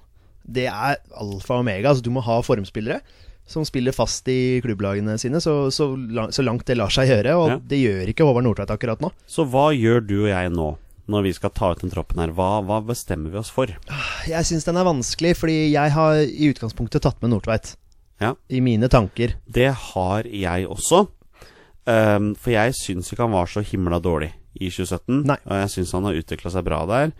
Speaker 3: Det er alfa og omega. Altså, du må ha formspillere som spiller fast i klubblagene sine, så, så, la- så langt det lar seg gjøre. Og
Speaker 2: Ja.
Speaker 3: det gjør ikke Håvard Nordtveit akkurat nå.
Speaker 2: Så hva gjør du og jeg nå, når vi skal ta ut den troppen her? Hva, hva bestemmer vi oss for?
Speaker 3: Jeg syns den er vanskelig, fordi jeg har i utgangspunktet tatt med Nordtveit.
Speaker 2: Ja.
Speaker 3: I mine tanker.
Speaker 2: Det har jeg også. Ehm, for jeg syns ikke han var så himla dårlig i 2017.
Speaker 3: Nei.
Speaker 2: Og jeg syns han har utvikla seg bra der.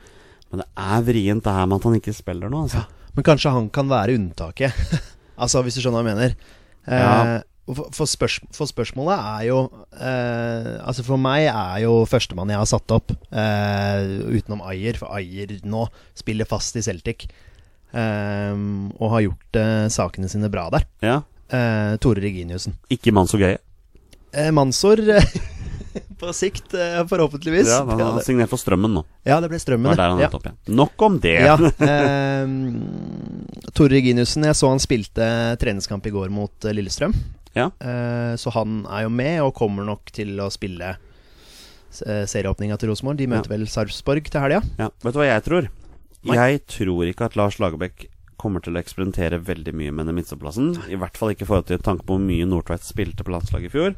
Speaker 2: Men det er vrient det her med at han ikke spiller nå, altså.
Speaker 3: Men kanskje han kan være unntaket. altså, hvis du skjønner hva jeg mener. Eh,
Speaker 2: Ja.
Speaker 3: og for, for, spørs, for spørsmålet er jo eh, Altså, for meg er jo førstemann jeg har satt opp, eh, utenom Ayer, for Ayer nå spiller fast i Celtic. eh, og har gjort eh, sakene sine bra der.
Speaker 2: Ja.
Speaker 3: Eh, Tore Reginiussen.
Speaker 2: Ikke Manso Gøye.
Speaker 3: Eh, Mansor på sikt, eh, forhåpentligvis.
Speaker 2: Ja, han har
Speaker 3: det,
Speaker 2: signert for Strømmen nå.
Speaker 3: ja, det ble strømmen,
Speaker 2: Det var der han
Speaker 3: Ja.
Speaker 2: endte opp igjen. Nok om det.
Speaker 3: Ja. eh, Tore Reginiussen, jeg så han spilte treningskamp i går mot eh, Lillestrøm.
Speaker 2: Ja.
Speaker 3: Eh, så han er jo med, og kommer nok til å spille eh, serieåpninga til Rosenborg. De møter vel Sarpsborg til helga.
Speaker 2: Ja, Vet du hva jeg tror?
Speaker 3: Nei.
Speaker 2: Jeg tror ikke at Lars Lagerbäck kommer til å eksperimentere veldig mye med den midtstopplassen. I hvert fall ikke i forhold til tanke på hvor mye Nordtveit spilte på landslaget i fjor.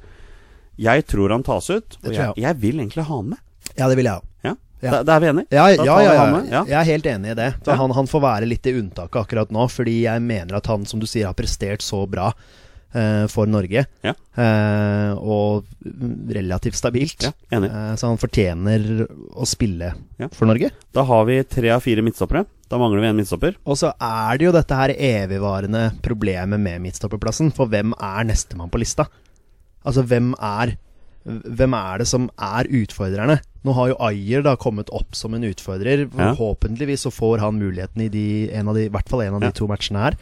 Speaker 2: Jeg tror han tas ut, og
Speaker 3: tror
Speaker 2: jeg,
Speaker 3: jeg
Speaker 2: jeg vil egentlig ha han med.
Speaker 3: Ja, det vil jeg òg.
Speaker 2: Ja.
Speaker 3: Ja.
Speaker 2: Da, da er vi enige?
Speaker 3: Ja,
Speaker 2: Da
Speaker 3: ja,
Speaker 2: tar vi
Speaker 3: ja,
Speaker 2: han med,
Speaker 3: ja.
Speaker 2: ja.
Speaker 3: Jeg er helt enig i det. For
Speaker 2: Ja.
Speaker 3: han, han får være litt i unntaket akkurat nå, fordi jeg mener at han, som du sier, har prestert så bra eh, for Norge.
Speaker 2: Ja.
Speaker 3: Eh, og mm, relativt stabilt.
Speaker 2: Ja, enig.
Speaker 3: Eh, så han fortjener å spille
Speaker 2: Ja.
Speaker 3: for Norge.
Speaker 2: Da har vi tre av fire midtstoppere. Da mangler vi en midtstopper.
Speaker 3: Og så er det jo dette her evigvarende problemet med midtstopperplassen. For hvem er nestemann på lista? Altså, hvem er hvem er det som er utfordrerne? Nå har jo Ayer da kommet opp som en utfordrer.
Speaker 2: Ja.
Speaker 3: Forhåpentligvis så får han muligheten i de, en av de, i hvert fall en av
Speaker 2: Ja.
Speaker 3: de to matchene her.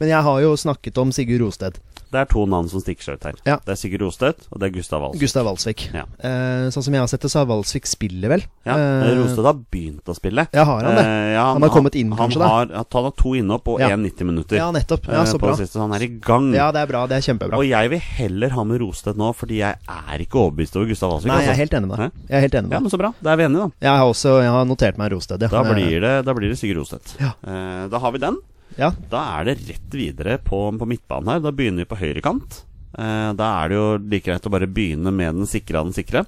Speaker 3: Men jeg har jo snakket om Sigurd Rosted.
Speaker 2: Det er to navn som stikker seg ut her.
Speaker 3: Ja.
Speaker 2: Det er Sigurd Rostøt, og det er Gustav Ahlsen.
Speaker 3: Gustav Walsvik.
Speaker 2: Ja.
Speaker 3: Eh, sånn som jeg har sett det, så har Walsvik spiller vel?
Speaker 2: Ja,
Speaker 3: Eh,
Speaker 2: Rostøt har begynt å spille.
Speaker 3: Ja, har han det?
Speaker 2: Eh, ja,
Speaker 3: Han har kommet inn, kanskje, da?
Speaker 2: Han har, han har to innhopp og
Speaker 3: Ja.
Speaker 2: én 90 minutter.
Speaker 3: Ja, nettopp. Ja,
Speaker 2: eh,
Speaker 3: så
Speaker 2: på
Speaker 3: bra.
Speaker 2: det siste, så han er i gang.
Speaker 3: Ja, det er bra. Det er kjempebra.
Speaker 2: Og jeg vil heller ha med Rostøt nå, fordi jeg er ikke overbevist over Gustav Ahlsvik.
Speaker 3: Nei, jeg er
Speaker 2: altså.
Speaker 3: helt enig med
Speaker 2: Hæ?
Speaker 3: deg. Jeg er helt enig med
Speaker 2: Ja,
Speaker 3: deg.
Speaker 2: men Så bra. Da er vi enige, da.
Speaker 3: Jeg har også jeg har notert meg Rosted, ja.
Speaker 2: Da
Speaker 3: Eh,
Speaker 2: blir det, da blir det Sigurd Rostøt.
Speaker 3: Ja.
Speaker 2: Eh, da har vi den.
Speaker 3: Ja,
Speaker 2: Da er det rett videre på, på midtbanen her. Da begynner vi på høyrekant. Eh, da er det jo like greit å bare begynne med den sikre av den sikre.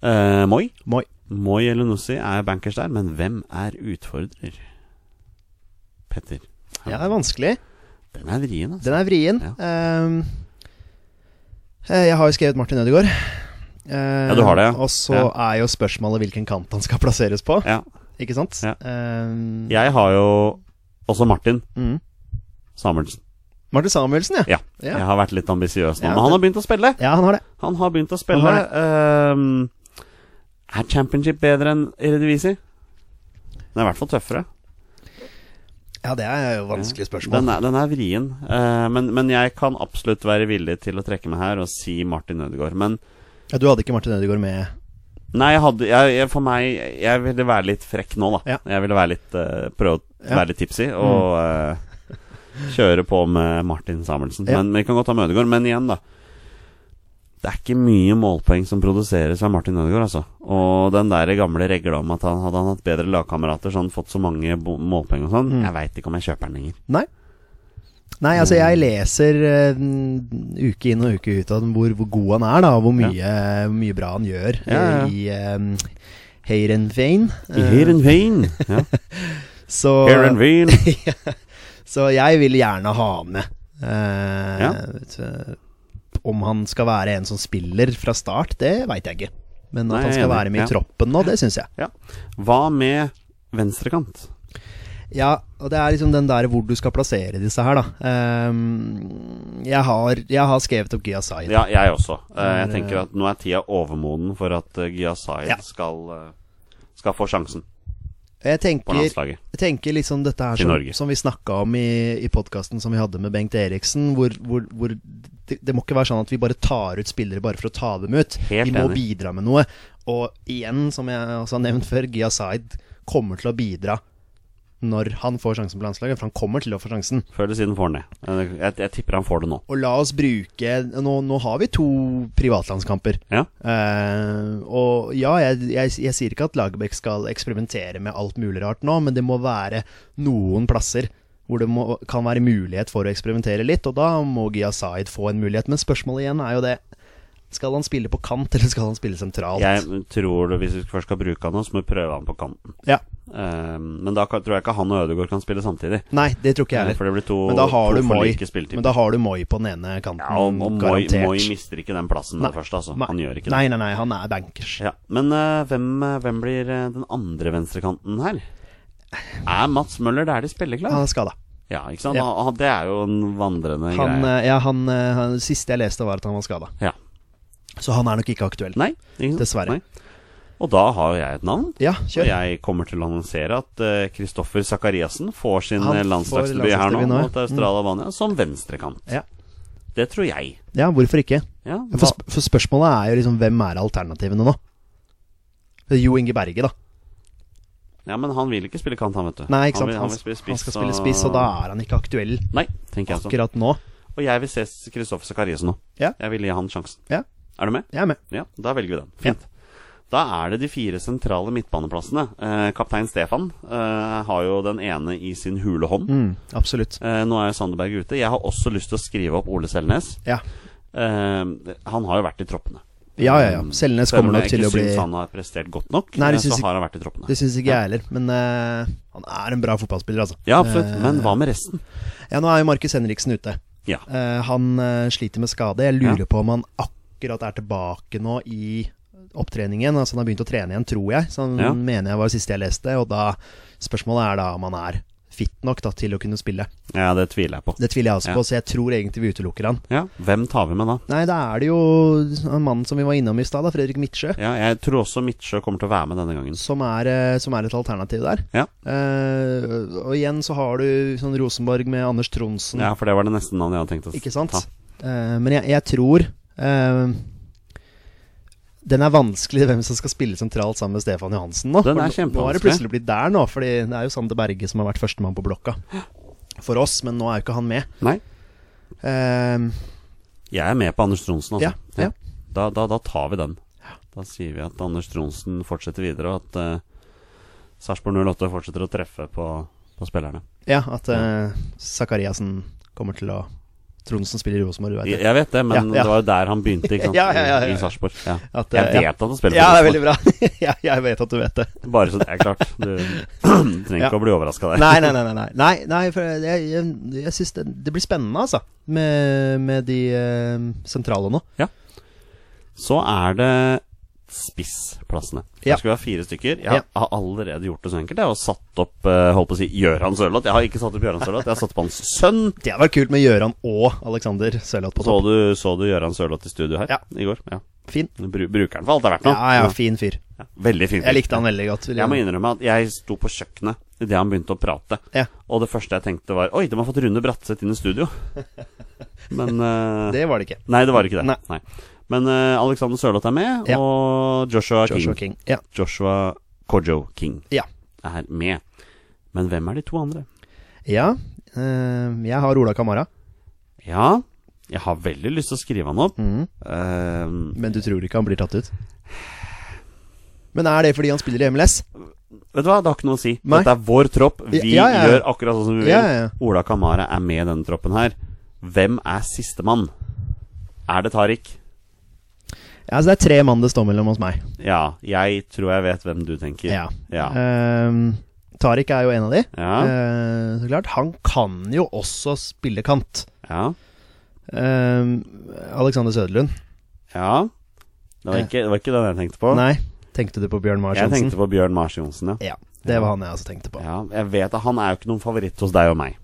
Speaker 2: Eh, Moi.
Speaker 3: Moi.
Speaker 2: Moi Elunussi er bankers der, men hvem er utfordrer? Petter.
Speaker 3: Ja, det er vanskelig.
Speaker 2: Den er vrien, altså.
Speaker 3: Den er vrien.
Speaker 2: Ja.
Speaker 3: Ehm, eh, jeg har jo skrevet Martin Ødegaard. Ehm,
Speaker 2: Ja, du har det, ja.
Speaker 3: Og så
Speaker 2: Ja.
Speaker 3: er jo spørsmålet hvilken kant han skal plasseres på.
Speaker 2: Ja.
Speaker 3: Ikke sant?
Speaker 2: Ja.
Speaker 3: Ehm,
Speaker 2: Jeg har jo også Martin
Speaker 3: mm.
Speaker 2: Samuelsen.
Speaker 3: Martin Samuelsen, ja.
Speaker 2: Ja.
Speaker 3: Ja.
Speaker 2: Jeg har vært litt ambisiøs nå,
Speaker 3: Ja,
Speaker 2: men han har begynt å spille.
Speaker 3: Ja, han har det.
Speaker 2: Han har begynt å spille.
Speaker 3: Han
Speaker 2: Ehm, er championship bedre enn Eredivisie? Den er i hvert fall tøffere.
Speaker 3: Ja, det er jo vanskelig spørsmål.
Speaker 2: Den er, den er vrien, eh, men, men jeg kan absolutt være villig til å trekke meg her og si Martin Ødegaard. Men
Speaker 3: Ja, du hadde ikke Martin Ødegaard med
Speaker 2: nei, jeg hadde, jeg, jeg, for meg Jeg ville være litt frekk nå, da.
Speaker 3: Ja.
Speaker 2: Jeg ville være litt, eh, prøve å
Speaker 3: Ja. Mm.
Speaker 2: være litt tipsy og eh, kjøre på med Martin Samuelsen.
Speaker 3: Ja.
Speaker 2: Men vi kan godt ta med Ødegaard. Men igjen, da. Det er ikke mye målpoeng som produseres av Martin Ødegaard, altså. Og den der gamle regla om at han hadde han hatt bedre lagkamerater, så hadde han fått så mange bo- målpoeng og sånn.
Speaker 3: Mm.
Speaker 2: Jeg veit ikke om jeg kjøper den lenger.
Speaker 3: Nei. Nei, altså jeg leser eh, n- uke inn og uke ut om hvor, hvor god han er, da. og Hvor
Speaker 2: Ja.
Speaker 3: mye, hvor mye bra han gjør eh,
Speaker 2: Ja, ja.
Speaker 3: i um, Heirenvein. Eh,
Speaker 2: Here and Vane. Ja.
Speaker 3: så,
Speaker 2: Here and Vane.
Speaker 3: så jeg vil gjerne ha han med. Eh,
Speaker 2: Ja.
Speaker 3: t- Om han skal være en som spiller fra start, det veit jeg ikke. Men
Speaker 2: Nei,
Speaker 3: at han
Speaker 2: jeg er
Speaker 3: skal
Speaker 2: enig.
Speaker 3: være med i
Speaker 2: Ja.
Speaker 3: troppen nå, det syns jeg.
Speaker 2: Ja. Hva med venstrekant?
Speaker 3: Ja, og det er liksom den der hvor du skal plassere disse her, da. Eh, jeg, har, jeg har skrevet opp Giyasai.
Speaker 2: Ja, jeg også. Eh, Jeg
Speaker 3: Er,
Speaker 2: tenker at nå er tida overmoden for at eh, Giyasai
Speaker 3: Ja.
Speaker 2: skal, eh, skal få sjansen
Speaker 3: Jeg
Speaker 2: på
Speaker 3: tenker,
Speaker 2: landslaget.
Speaker 3: jeg tenker liksom dette her
Speaker 2: Til
Speaker 3: som,
Speaker 2: Norge.
Speaker 3: som vi snakka om i, i podkasten som vi hadde med Bengt Eriksen, hvor, hvor, hvor det, det må ikke være sånn at vi bare tar ut spillere bare for å ta dem ut.
Speaker 2: Helt
Speaker 3: de må
Speaker 2: enig.
Speaker 3: bidra med noe. Og igjen, som jeg også har nevnt før, Gia Zaid kommer til å bidra når han får sjansen på landslaget, for han kommer til å få sjansen.
Speaker 2: Før eller siden får han det. Eh, Jeg, jeg tipper han får det nå.
Speaker 3: Og la oss bruke Nå, nå har vi to privatlandskamper.
Speaker 2: Ja.
Speaker 3: Eh, og ja, jeg, jeg, jeg sier ikke at Lagerbäck skal eksperimentere med alt mulig rart nå, men det må være noen plasser hvor det må, kan være mulighet for å eksperimentere litt, og da må Gia Zaid få en mulighet. Men spørsmålet igjen er jo det Skal han spille på kant, eller skal han spille sentralt?
Speaker 2: Jeg tror det, Hvis vi først skal bruke han nå, så må vi prøve han på kanten.
Speaker 3: Ja.
Speaker 2: Eh, Men da kan, tror jeg ikke han og Ødegaard kan spille samtidig.
Speaker 3: Nei, det tror ikke jeg
Speaker 2: Eh,
Speaker 3: heller.
Speaker 2: For det blir to,
Speaker 3: Men da har
Speaker 2: to
Speaker 3: du
Speaker 2: for
Speaker 3: Moi.
Speaker 2: like
Speaker 3: Men
Speaker 2: spilletimer.
Speaker 3: da har du Moi på den ene kanten,
Speaker 2: Ja, og og Moi,
Speaker 3: garantert.
Speaker 2: Moi mister ikke den plassen med det første, altså.
Speaker 3: Nei.
Speaker 2: Han gjør ikke det.
Speaker 3: Nei, nei, nei, han er bankers.
Speaker 2: Ja, Men eh, hvem, eh, hvem blir eh, den andre venstrekanten her? Er Mats Møller der de spiller klar?
Speaker 3: Han er skada.
Speaker 2: Ja, ikke sant?
Speaker 3: Ja.
Speaker 2: Han- han- Det er jo en vandrende
Speaker 3: Han,
Speaker 2: greie.
Speaker 3: eh, ja, han, eh, han, det siste jeg leste, var at han var skada.
Speaker 2: Ja.
Speaker 3: Så han er nok ikke aktuell.
Speaker 2: Nei, ikke sant?
Speaker 3: eh, dessverre.
Speaker 2: Nei. Og da har jo jeg et navn.
Speaker 3: Ja,
Speaker 2: Og
Speaker 3: kjør.
Speaker 2: jeg kommer til å annonsere at Kristoffer Sakariassen får sin
Speaker 3: Han
Speaker 2: eh,
Speaker 3: får
Speaker 2: landslagsdebut her
Speaker 3: landslagsdebut nå, ja.
Speaker 2: nå
Speaker 3: Mm.
Speaker 2: mot Australia-Albania som venstrekant.
Speaker 3: Ja.
Speaker 2: Det tror jeg.
Speaker 3: Ja, hvorfor ikke?
Speaker 2: Ja,
Speaker 3: For,
Speaker 2: hva-
Speaker 3: sp for spørsmålet er jo liksom hvem er alternativene nå? Det er Jo Inge Berge, da.
Speaker 2: ja, men han vil ikke spille kant, han, vet du.
Speaker 3: Nei, ikke sant.
Speaker 2: Han, vil, han, vil spille spiss,
Speaker 3: han skal spille spiss, og da er han ikke aktuell
Speaker 2: Nei, tenker jeg sånn.
Speaker 3: akkurat nå.
Speaker 2: Og jeg vil se Kristoffer Sakariassen nå.
Speaker 3: Ja.
Speaker 2: Jeg vil gi han sjansen.
Speaker 3: Ja.
Speaker 2: Er du med?
Speaker 3: Jeg er med.
Speaker 2: Ja, da velger vi den. Fint. Da er det de fire sentrale midtbaneplassene. Eh, Kaptein Stefan eh, har jo den ene i sin hule hånd.
Speaker 3: Mm, absolutt.
Speaker 2: Eh, nå er jo Sandeberg ute. Jeg har også lyst til å skrive opp Ole Selnes.
Speaker 3: Ja.
Speaker 2: Eh, han har jo vært i troppene.
Speaker 3: Ja, ja, ja. Selnes
Speaker 2: Selv om
Speaker 3: kommer nok
Speaker 2: jeg
Speaker 3: til
Speaker 2: ikke
Speaker 3: å bli-
Speaker 2: syns han har prestert godt nok, eh,
Speaker 3: Nei, det
Speaker 2: så
Speaker 3: syns ikke-
Speaker 2: har han vært i troppene.
Speaker 3: Det syns ikke
Speaker 2: Ja.
Speaker 3: jeg heller, men eh, han er en bra fotballspiller, altså.
Speaker 2: Ja, absolutt.
Speaker 3: Eh,
Speaker 2: Men hva med resten?
Speaker 3: Ja, nå er jo Markus Henriksen ute.
Speaker 2: Ja.
Speaker 3: Eh, han eh, sliter med skade. Jeg lurer på om han akkurat er tilbake nå i opptreningen. Altså han har begynt å trene igjen, tror jeg. Så han
Speaker 2: Ja.
Speaker 3: mener jeg var det siste jeg leste. Og da Spørsmålet er da om han er fit nok da, til å kunne spille.
Speaker 2: ja, det tviler jeg på.
Speaker 3: Det tviler jeg også
Speaker 2: Ja.
Speaker 3: på, så jeg tror egentlig vi utelukker han.
Speaker 2: Ja, Hvem tar vi med da?
Speaker 3: Nei, da er det jo han mannen som vi var innom i stad, da, Fredrik Midtsjø.
Speaker 2: Ja, Jeg tror også Midtsjø kommer til å være med denne gangen.
Speaker 3: Som er, eh, som er et alternativ der.
Speaker 2: Ja.
Speaker 3: Eh, og igjen så har du sånn Rosenborg med Anders Tronsen.
Speaker 2: Ja, for det var det neste navnet jeg hadde tenkt å s-
Speaker 3: Ikke sant?
Speaker 2: ta.
Speaker 3: Eh, men jeg, jeg tror eh, Den er vanskelig hvem som skal spille sentralt sammen med Stefan Johansen nå.
Speaker 2: Den er
Speaker 3: For nå- Nå har det
Speaker 2: kjempevanskelig.
Speaker 3: plutselig blitt der nå, Fordi det er jo Sander Berge som har vært førstemann på blokka for oss, men nå er jo ikke han med.
Speaker 2: Nei,
Speaker 3: Eh,
Speaker 2: jeg er med på Anders Tronsen, altså.
Speaker 3: Ja, ja.
Speaker 2: Da, da, da tar vi den. Da sier vi at Anders Tronsen fortsetter videre, og at eh, Sarpsborg 08 fortsetter å treffe på, på spillerne.
Speaker 3: ja, at eh, Sakariassen kommer til å Tronsen spiller i Rosenborg, du vet
Speaker 2: Jeg,
Speaker 3: det.
Speaker 2: jeg vet det, men
Speaker 3: Ja, ja.
Speaker 2: det var jo der han begynte, ikke sant?
Speaker 3: Ja, ja, ja, ja, ja.
Speaker 2: I Sarpsborg. Ja.
Speaker 3: At,
Speaker 2: Jeg
Speaker 3: eh,
Speaker 2: vet
Speaker 3: ja.
Speaker 2: at han spiller
Speaker 3: Ja, det er
Speaker 2: på
Speaker 3: veldig bra. ja, jeg vet at du vet det.
Speaker 2: Sarpsborg, bare så det er klart. Du trenger
Speaker 3: Ja.
Speaker 2: ikke å bli overraska der.
Speaker 3: Nei, nei, nei. nei, nei. nei, nei for jeg, jeg, jeg syns det, det blir spennende, altså. Med, med de eh, sentrale nå.
Speaker 2: Så er det spissplassene.
Speaker 3: Ja.
Speaker 2: Det skal være fire stykker. Jeg
Speaker 3: Ja.
Speaker 2: har allerede gjort det så enkelt. Jeg har satt opp eh, holdt på å si Gjøran Sørloth. Jeg har ikke satt opp Gjøran Sørloth, jeg har satt opp hans sønn.
Speaker 3: Det hadde vært kult med Gøran og Alexander Sørloth på
Speaker 2: Så
Speaker 3: topp.
Speaker 2: du, så du Gjøran Sørloth i studio her
Speaker 3: Ja.
Speaker 2: i går? Ja.
Speaker 3: Fin.
Speaker 2: Bru, bruker han for alt det er verdt nå.
Speaker 3: Ja, ja, fin fyr.
Speaker 2: Ja. Veldig fin.
Speaker 3: Jeg likte han veldig godt. vil
Speaker 2: Jeg må
Speaker 3: jeg-
Speaker 2: innrømme at jeg sto på kjøkkenet idet han begynte å prate.
Speaker 3: Ja.
Speaker 2: Og det første jeg tenkte var Oi, de har fått Rune Bratseth inn i studio. Men eh,
Speaker 3: Det var det ikke.
Speaker 2: Nei, det var ikke det.
Speaker 3: Nei.
Speaker 2: Men eh, Alexander Sørloth er med,
Speaker 3: Ja.
Speaker 2: og Joshua,
Speaker 3: Joshua King.
Speaker 2: King.
Speaker 3: Ja.
Speaker 2: Joshua Kojo King
Speaker 3: Ja.
Speaker 2: er med. Men hvem er de to andre?
Speaker 3: ja eh, jeg har Ola Kamara.
Speaker 2: Ja, jeg har veldig lyst til å skrive han opp.
Speaker 3: Mhm.
Speaker 2: Eh,
Speaker 3: Men du tror ikke han blir tatt ut? Men er det fordi han spiller i MLS?
Speaker 2: Vet du hva, det har ikke noe å si.
Speaker 3: Nei.
Speaker 2: Dette er vår tropp. Vi
Speaker 3: Ja, ja, ja.
Speaker 2: gjør akkurat sånn som vi vil.
Speaker 3: Ja, ja, ja.
Speaker 2: Ola Kamara er med i denne troppen her. Hvem er sistemann? Er det Tariq?
Speaker 3: Ja, så Det er tre mann det står mellom hos meg.
Speaker 2: Ja, jeg tror jeg vet hvem du tenker.
Speaker 3: Ja.
Speaker 2: Ja.
Speaker 3: Eh, Tariq er jo en av de.
Speaker 2: Ja.
Speaker 3: Eh, så klart. Han kan jo også spille kant.
Speaker 2: ja.
Speaker 3: Eh, Alexander Søderlund.
Speaker 2: ja. Det, var ikke, det var ikke den jeg tenkte på.
Speaker 3: Eh. Nei, tenkte du på Bjørn Mars
Speaker 2: jeg
Speaker 3: Johnsen?
Speaker 2: tenkte på Bjørn Mars Johnsen, ja.
Speaker 3: Ja, det var han jeg også tenkte på.
Speaker 2: ja. Jeg vet at han er jo ikke noen favoritt hos deg og meg.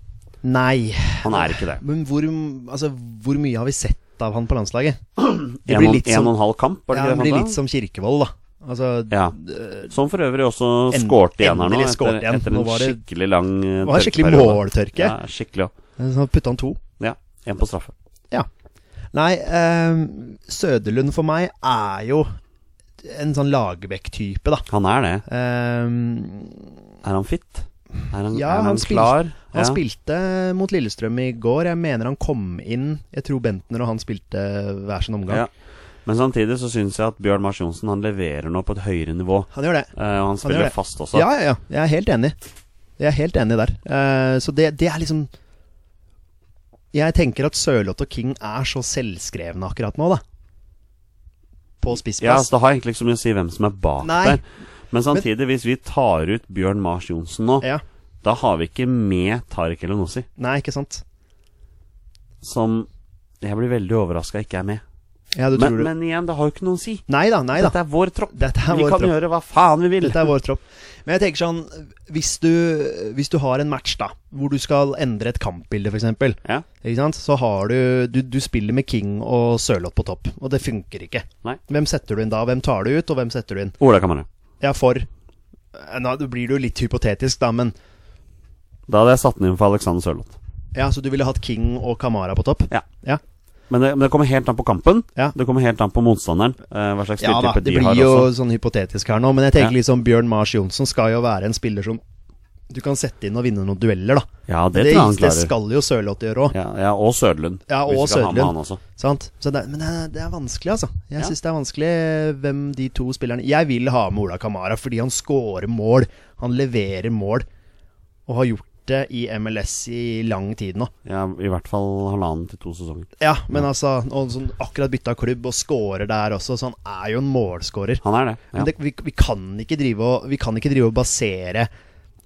Speaker 3: Nei,
Speaker 2: Han er ikke det.
Speaker 3: men hvor, altså, hvor mye har vi sett av han på landslaget? Det
Speaker 2: En
Speaker 3: blir
Speaker 2: og,
Speaker 3: litt
Speaker 2: en
Speaker 3: som,
Speaker 2: og en halv kamp, var
Speaker 3: ja, han
Speaker 2: det ikke det
Speaker 3: blir
Speaker 2: han
Speaker 3: litt som Kirkevold, da. Altså,
Speaker 2: Ja. Som for øvrig også skårte igjen her nå,
Speaker 3: endelig skårte
Speaker 2: etter,
Speaker 3: igjen.
Speaker 2: etter
Speaker 3: Nå
Speaker 2: en
Speaker 3: var det-
Speaker 2: skikkelig lang eh,
Speaker 3: det var skikkelig
Speaker 2: periode.
Speaker 3: måltørke.
Speaker 2: Ja, skikkelig òg.
Speaker 3: Så han putta han to.
Speaker 2: Ja, en på straffe.
Speaker 3: Ja. Nei, eh, Søderlund for meg er jo en sånn Lagerbäck-type, da.
Speaker 2: Han er det.
Speaker 3: Eh,
Speaker 2: Er han fit? Er han,
Speaker 3: Ja,
Speaker 2: er han,
Speaker 3: han spil-
Speaker 2: klar?
Speaker 3: Han
Speaker 2: ja.
Speaker 3: spilte mot Lillestrøm i går. Jeg mener han kom inn Jeg tror Bentner og han spilte hver sin omgang.
Speaker 2: Ja. Men samtidig så syns jeg at Bjørn Mars Johnsen han leverer nå på et høyere nivå.
Speaker 3: Han gjør det.
Speaker 2: Eh, og han spiller
Speaker 3: gjør det.
Speaker 2: fast også.
Speaker 3: Ja, ja, ja. Jeg er helt enig. Jeg er helt enig der. Eh, så det, det er liksom Jeg tenker at Sørloth og King er så selvskrevne akkurat nå, da. På
Speaker 2: Ja,
Speaker 3: spissplass.
Speaker 2: så Det har egentlig ikke så mye å si hvem som er bak
Speaker 3: Nei.
Speaker 2: der. Men samtidig, hvis vi tar ut Bjørn Mars Johnsen nå,
Speaker 3: Ja.
Speaker 2: da har vi ikke med Tariq Elenossi,
Speaker 3: Nei, ikke sant?
Speaker 2: som jeg blir veldig overraska ikke er med.
Speaker 3: Ja, du
Speaker 2: Men,
Speaker 3: tror det.
Speaker 2: men igjen, det har jo ikke noe å si.
Speaker 3: Nei da, nei da.
Speaker 2: Dette er vår tropp.
Speaker 3: Dette er
Speaker 2: vi
Speaker 3: vår
Speaker 2: kan
Speaker 3: tropp.
Speaker 2: gjøre hva faen vi vil.
Speaker 3: Dette er vår tropp. Men jeg tenker sånn Hvis du, hvis du har en match da hvor du skal endre et kampbilde, f.eks.,
Speaker 2: Ja.
Speaker 3: Ikke sant? så har du, du Du spiller med King og Sørloth på topp, og det funker ikke.
Speaker 2: Nei.
Speaker 3: Hvem setter du inn da? Hvem tar du ut, og hvem setter du inn?
Speaker 2: Ola Kamara.
Speaker 3: Ja, for Eh, Nå blir det jo litt hypotetisk, da, men
Speaker 2: Da hadde jeg satt den inn for Alexander Sørloth.
Speaker 3: Ja, så du ville hatt King og Kamara på topp?
Speaker 2: Ja.
Speaker 3: Ja,
Speaker 2: Men det, men det kommer helt an på kampen.
Speaker 3: Ja.
Speaker 2: Det kommer helt an på motstanderen. eh, hva slags
Speaker 3: ja da,
Speaker 2: spilltype
Speaker 3: det
Speaker 2: de har
Speaker 3: blir jo
Speaker 2: også.
Speaker 3: sånn hypotetisk her nå, men jeg tenker
Speaker 2: Ja.
Speaker 3: liksom Bjørn Mars Johnsen skal jo være en spiller som du kan sette inn og vinne noen dueller, da.
Speaker 2: Ja, det,
Speaker 3: det,
Speaker 2: tror jeg han
Speaker 3: det
Speaker 2: klarer.
Speaker 3: skal jo Sørloth gjøre òg.
Speaker 2: Ja, ja, og Sødlund.
Speaker 3: Ja, og
Speaker 2: Hvis vi kan ha med
Speaker 3: Sødlund.
Speaker 2: han også.
Speaker 3: Sant? Så det, men det, er- det er vanskelig, altså. Jeg
Speaker 2: Ja.
Speaker 3: synes syns det er vanskelig eh, hvem de to spillerne Jeg vil ha med Ola Kamara fordi han scorer mål. Han leverer mål og har gjort vært det i MLS i lang tid nå.
Speaker 2: Ja, I hvert fall halvannen til to sesonger.
Speaker 3: Ja, men altså Og sånn akkurat bytta klubb og scorer der også, så han er jo en målscorer.
Speaker 2: Han er det. Ja.
Speaker 3: Men det, vi, vi, kan ikke drive og, vi kan ikke drive og basere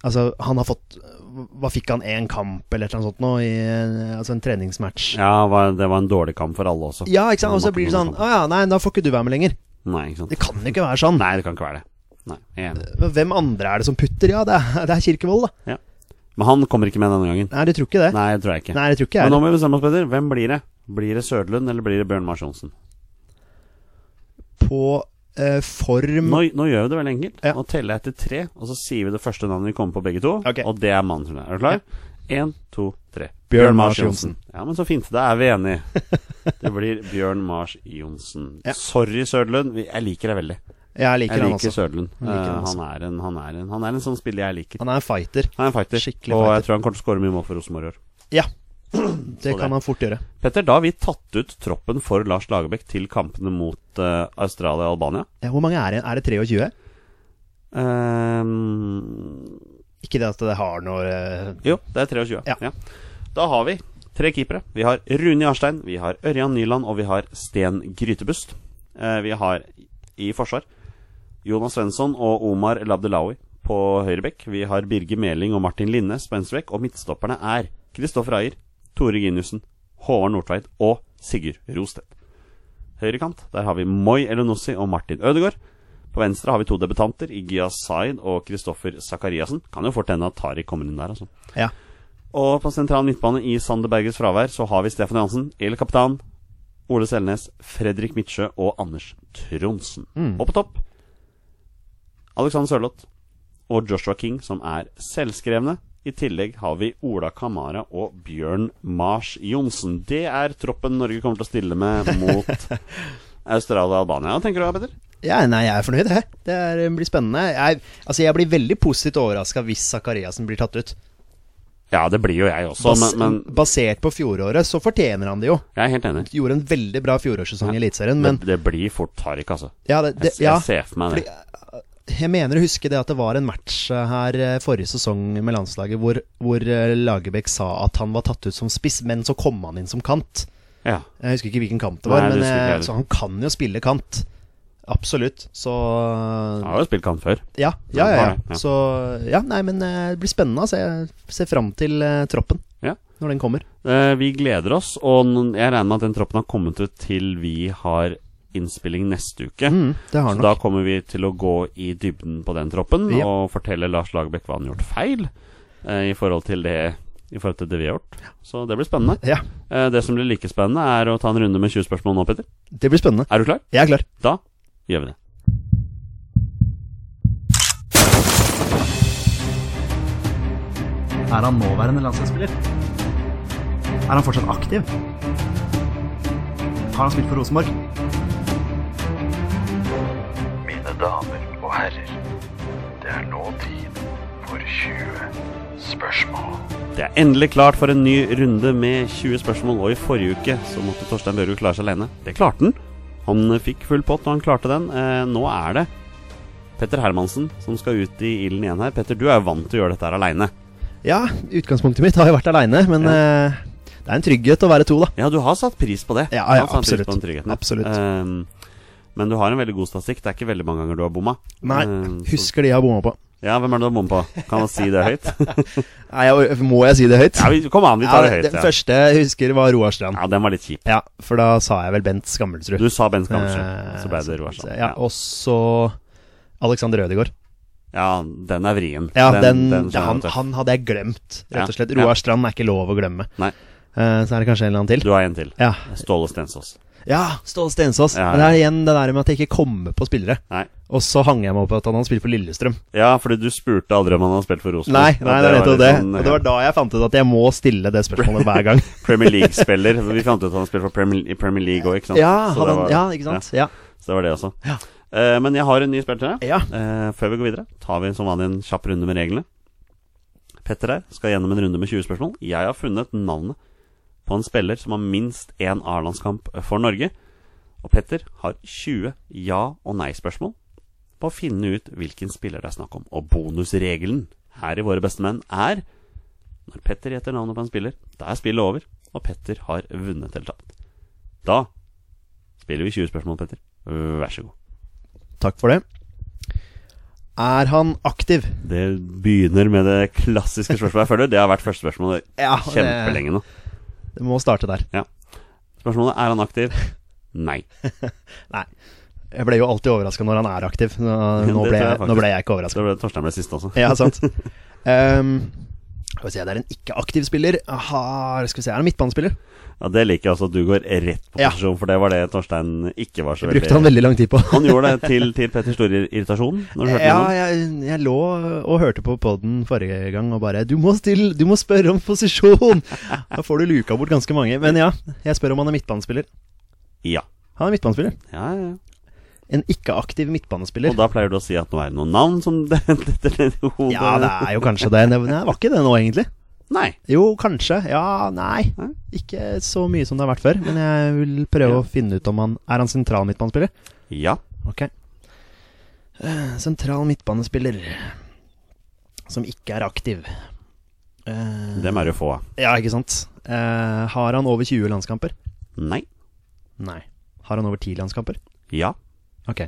Speaker 3: Altså, han har fått Hva fikk han? Én kamp eller noe sånt nå? I, en- altså en treningsmatch. Ja,
Speaker 2: Ja, var- det var en dårlig kamp for alle også.
Speaker 3: ikke sant? Og så blir det sånn Å ja, nei, da får ikke du være med lenger.
Speaker 2: Nei, ikke sant.
Speaker 3: Det kan ikke være sånn.
Speaker 2: Nei, det kan ikke være det. Nei, jeg er enig.
Speaker 3: Men Hvem andre er det som putter? Ja, det er, det er Kirkevold, da.
Speaker 2: Ja. Men han kommer ikke med denne gangen.
Speaker 3: Nei, du tror ikke det?
Speaker 2: Nei, det tror jeg ikke.
Speaker 3: Nei, jeg tror ikke
Speaker 2: Men
Speaker 3: jeg
Speaker 2: nå
Speaker 3: det.
Speaker 2: må vi bestemme oss, Peder. Hvem blir det? Blir det Sødlund, eller blir det Bjørn Mars Johnsen?
Speaker 3: På eh, form
Speaker 2: Nå, nå gjør vi det veldig enkelt.
Speaker 3: Ja.
Speaker 2: Nå teller jeg til tre, og så sier vi det første navnet vi kommer på begge to.
Speaker 3: Ok.
Speaker 2: Og det er mannen som er. Er du klar? Én, to, tre.
Speaker 3: Bjørn Mars Johnsen.
Speaker 2: Ja, men så fint. Da er vi enige. Det blir Bjørn Mars Johnsen.
Speaker 3: Ja.
Speaker 2: Sorry, Sødlund. Vi- Jeg liker deg veldig.
Speaker 3: Jeg
Speaker 2: Jeg
Speaker 3: liker han altså.
Speaker 2: liker
Speaker 3: også.
Speaker 2: Sødlund. Eh,
Speaker 3: Jeg liker han
Speaker 2: Han, er en- han, er en- han er en sånn spiller jeg liker.
Speaker 3: Han er en fighter.
Speaker 2: Han er en fighter.
Speaker 3: Skikkelig
Speaker 2: og jeg
Speaker 3: fighter.
Speaker 2: tror han kommer til å skåre mye mål for Rosenborg i år.
Speaker 3: Ja.
Speaker 2: Så
Speaker 3: Det
Speaker 2: det.
Speaker 3: kan han fort gjøre.
Speaker 2: Petter, da har vi tatt ut troppen for Lars Lagerbäck til kampene mot eh, Australia og Albania.
Speaker 3: Ja, hvor mange er det? Er det 23?
Speaker 2: Ehm,
Speaker 3: Ikke det at det har noe eh,
Speaker 2: jo, det er 23.
Speaker 3: Ja.
Speaker 2: Da har vi tre keepere. Vi har Rune Jarstein, vi har Ørjan Nyland og vi har Sten Grytebust. Eh, vi har i forsvar Jonas Svensson og Omar Labdelawi på høyrebekk. Vi har Birger Meling og Martin Linnes på venstrebekk. Og midtstopperne er Kristoffer Ayer, Tore Ginussen, Håvard Nordtveit og Sigurd Rostedt. Høyrekant, der har vi Moi Elonossi og Martin Ødegaard. På venstre har vi to debutanter, Igya Zaid og Kristoffer Sakariassen. Kan jo fort hende at Tariq kommer inn der, altså.
Speaker 3: Ja.
Speaker 2: Og på sentral midtbane i Sander Berges fravær så har vi Stefan Johansen, El Kapitan, Ole Selnes, Fredrik Midtsjø og Anders Tronsen. Og på topp Alexander Sørloth og Joshua King, som er selvskrevne. I tillegg har vi Ola Kamara og Bjørn Mars Johnsen. Det er troppen Norge kommer til å stille med mot Australia og Albania. Hva tenker du, Petter?
Speaker 3: Ja, nei, jeg er fornøyd, jeg. Det er, eh, blir spennende. Jeg, altså, jeg blir veldig positivt overraska hvis Zakariassen blir tatt ut.
Speaker 2: Ja, det blir jo jeg også,
Speaker 3: Bas,
Speaker 2: men, men
Speaker 3: Basert på fjoråret, så fortjener han det jo.
Speaker 2: jeg er helt enig.
Speaker 3: Gjorde en veldig bra fjorårssesong i Eliteserien, men
Speaker 2: det, det blir fort Tariq, altså.
Speaker 3: ja, det, det,
Speaker 2: Jeg,
Speaker 3: ja,
Speaker 2: jeg ser for meg det.
Speaker 3: jeg mener å huske det at det var en match eh, her eh, forrige sesong med landslaget hvor, hvor eh, Lagerbäck sa at han var tatt ut som spiss, men så kom han inn som kant.
Speaker 2: Ja.
Speaker 3: Jeg husker ikke hvilken kant det var,
Speaker 2: Nei, det
Speaker 3: men
Speaker 2: husker ikke
Speaker 3: eh,
Speaker 2: jeg
Speaker 3: så han kan jo spille kant. Absolutt. Så
Speaker 2: Han har jo spilt kamp før.
Speaker 3: Ja, ja,
Speaker 2: Ja,
Speaker 3: ja.
Speaker 2: bare, ja.
Speaker 3: ja. Så ja, nei, men eh, det blir spennende. Altså. Jeg ser fram til eh, troppen
Speaker 2: Ja.
Speaker 3: når den kommer.
Speaker 2: Eh, vi gleder oss, og n- jeg regner med at den troppen har kommet ut til vi har innspilling neste uke.
Speaker 3: Mm, det har
Speaker 2: Så
Speaker 3: den
Speaker 2: da
Speaker 3: nok.
Speaker 2: kommer vi til å gå i dybden på den troppen
Speaker 3: Ja.
Speaker 2: og fortelle Lars Lagerbäck hva han har gjort feil eh, i forhold til det i forhold til det vi har gjort. Så det blir spennende.
Speaker 3: Ja,
Speaker 2: Eh, det som blir like spennende, er å ta en runde med 20 spørsmål nå, Petter.
Speaker 3: det blir spennende.
Speaker 2: Er du klar?
Speaker 3: Jeg er klar.
Speaker 2: Da gjør vi det.
Speaker 3: Er han nåværende landslagsspiller? Er han fortsatt aktiv? Har han spilt for Rosenborg?
Speaker 4: Mine damer og herrer, det er nå tid for 20 spørsmål.
Speaker 2: Det er endelig klart for en ny runde med 20 spørsmål, og i forrige uke så måtte Torstein Børud klare seg alene. Det klarte han. Han fikk full pott, og han klarte den. Eh, nå er det Petter Hermansen som skal ut i ilden igjen her. Petter, du er jo vant til å gjøre dette her aleine.
Speaker 3: Ja, utgangspunktet mitt har jo vært aleine, men eh, det er en trygghet å være to, da.
Speaker 2: Ja, du har satt pris på det.
Speaker 3: Ja,
Speaker 2: Du har
Speaker 3: ja,
Speaker 2: satt pris
Speaker 3: absolutt.
Speaker 2: på den tryggheten.
Speaker 3: Absolutt.
Speaker 2: Ehm, men du har en veldig god statistikk. Det er ikke veldig mange ganger du har bomma.
Speaker 3: Nei,
Speaker 2: Ehm, så-
Speaker 3: husker de jeg har bomma på.
Speaker 2: Ja, hvem er det du har bomma på? Kan man si det høyt?
Speaker 3: Nei, jeg, må jeg si det høyt?
Speaker 2: Ja, vi, kom an, vi tar
Speaker 3: Ja,
Speaker 2: det høyt.
Speaker 3: Den
Speaker 2: Ja,
Speaker 3: første jeg husker, var Roar Strand.
Speaker 2: ja den var litt kjip.
Speaker 3: Ja, for da sa jeg vel Bent Skammelsrud.
Speaker 2: Du sa Ben
Speaker 3: Eh,
Speaker 2: Skammersrud, så ble det sånn. Roar Sand.
Speaker 3: Ja, og så Alexander Ødegaard.
Speaker 2: Ja, den er vrien.
Speaker 3: Ja, den, det-
Speaker 2: skjønner
Speaker 3: han,
Speaker 2: jeg, vet du.
Speaker 3: han hadde jeg glemt,
Speaker 2: Ja,
Speaker 3: rett og slett.
Speaker 2: ja.
Speaker 3: Roar Strand er ikke lov å glemme.
Speaker 2: Nei.
Speaker 3: Eh, så er det kanskje en eller annen til.
Speaker 2: Du har en til.
Speaker 3: Ja,
Speaker 2: Ståle Stensås.
Speaker 3: ja Ståle Stensås.
Speaker 2: Ja,
Speaker 3: Men det er igjen det der med at jeg ikke kommer på spillere.
Speaker 2: Nei.
Speaker 3: Og så hang jeg meg opp på at han hadde spilt for Lillestrøm.
Speaker 2: Ja, fordi du spurte aldri om han hadde spilt for
Speaker 3: Nei,
Speaker 2: Rosenborg.
Speaker 3: nei,
Speaker 2: Og
Speaker 3: det er
Speaker 2: var
Speaker 3: nettopp
Speaker 2: litt
Speaker 3: det.
Speaker 2: sånn,
Speaker 3: Og det var da jeg fant ut at jeg må stille det spørsmålet hver gang.
Speaker 2: ja, Premier League-spiller. Vi fant ut at han spilte for Premier, i Premier League òg, ikke sant?
Speaker 3: Ja,
Speaker 2: Så det
Speaker 3: han,
Speaker 2: var-
Speaker 3: ja ikke sant. Ja.
Speaker 2: Ja, så det var det også.
Speaker 3: Ja.
Speaker 2: Eh, men jeg har en ny spiller til deg.
Speaker 3: Ja.
Speaker 2: Eh, før vi går videre, tar vi som vanlig en kjapp runde med reglene. Petter her skal gjennom en runde med 20 spørsmål. Jeg har funnet navnet på en spiller som har minst én A-landskamp eh, for Norge. Og Petter har 20 ja- og nei-spørsmål på å finne ut hvilken spiller det er snakk om. Og bonusregelen her i Våre beste menn er Når Petter gjetter navnet på en spiller, da er spillet over, og Petter har vunnet eller tapt. Da spiller vi 20 spørsmål, Petter. Vær så god.
Speaker 3: Takk for det. Er han aktiv?
Speaker 2: Det begynner med det klassiske spørsmålet jeg føler. Det har vært første spørsmål
Speaker 3: Ja, det,
Speaker 2: kjempelenge nå.
Speaker 3: det må starte der.
Speaker 2: Spørsmålet er han aktiv? Nei.
Speaker 3: Jeg ble jo alltid overraska når han er aktiv. Nå,
Speaker 2: Det
Speaker 3: nå,
Speaker 2: tror
Speaker 3: ble,
Speaker 2: jeg
Speaker 3: jeg, nå
Speaker 2: faktisk.
Speaker 3: ble jeg ikke
Speaker 2: Så
Speaker 3: overraska.
Speaker 2: ble det Torstein ble siste også.
Speaker 3: Ja, sant. Ehm, skal vi se, det er en ikke-aktiv spiller. Har, skal vi se, Er han midtbanespiller?
Speaker 2: Ja, Det liker jeg også at du går rett på
Speaker 3: Ja.
Speaker 2: posisjon, for det var det Torstein ikke var så
Speaker 3: Det brukte han veldig lang tid på.
Speaker 2: Han gjorde det til, til Petters store irritasjon når du hørte
Speaker 3: Ja,
Speaker 2: gjennom.
Speaker 3: jeg, jeg lå og hørte på poden forrige gang og bare du må, stille, du må spørre om posisjon! Da får du luka bort ganske mange. Men ja, jeg spør om han er midtbanespiller.
Speaker 2: Ja.
Speaker 3: Han er midtbanespiller.
Speaker 2: Ja, ja.
Speaker 3: En ikke-aktiv midtbanespiller.
Speaker 2: Og da pleier du å si at nå er det noen navn som detter ned i hodet.
Speaker 3: Ja, det er jo kanskje det. Nei, var ikke det nå, egentlig.
Speaker 2: Nei.
Speaker 3: Jo, kanskje. Ja, nei.
Speaker 2: Nei.
Speaker 3: Ikke så mye som det har vært før. Men jeg vil prøve
Speaker 2: Ja.
Speaker 3: å finne ut om han Er han sentral midtbanespiller?
Speaker 2: Ja.
Speaker 3: Ok. Eh, Sentral midtbanespiller som ikke er aktiv. Eh,
Speaker 2: Dem er det få av.
Speaker 3: Ja, ikke sant. Eh, har han over 20 landskamper?
Speaker 2: Nei.
Speaker 3: Nei. Har han over 10 landskamper?
Speaker 2: Ja.
Speaker 3: Ok.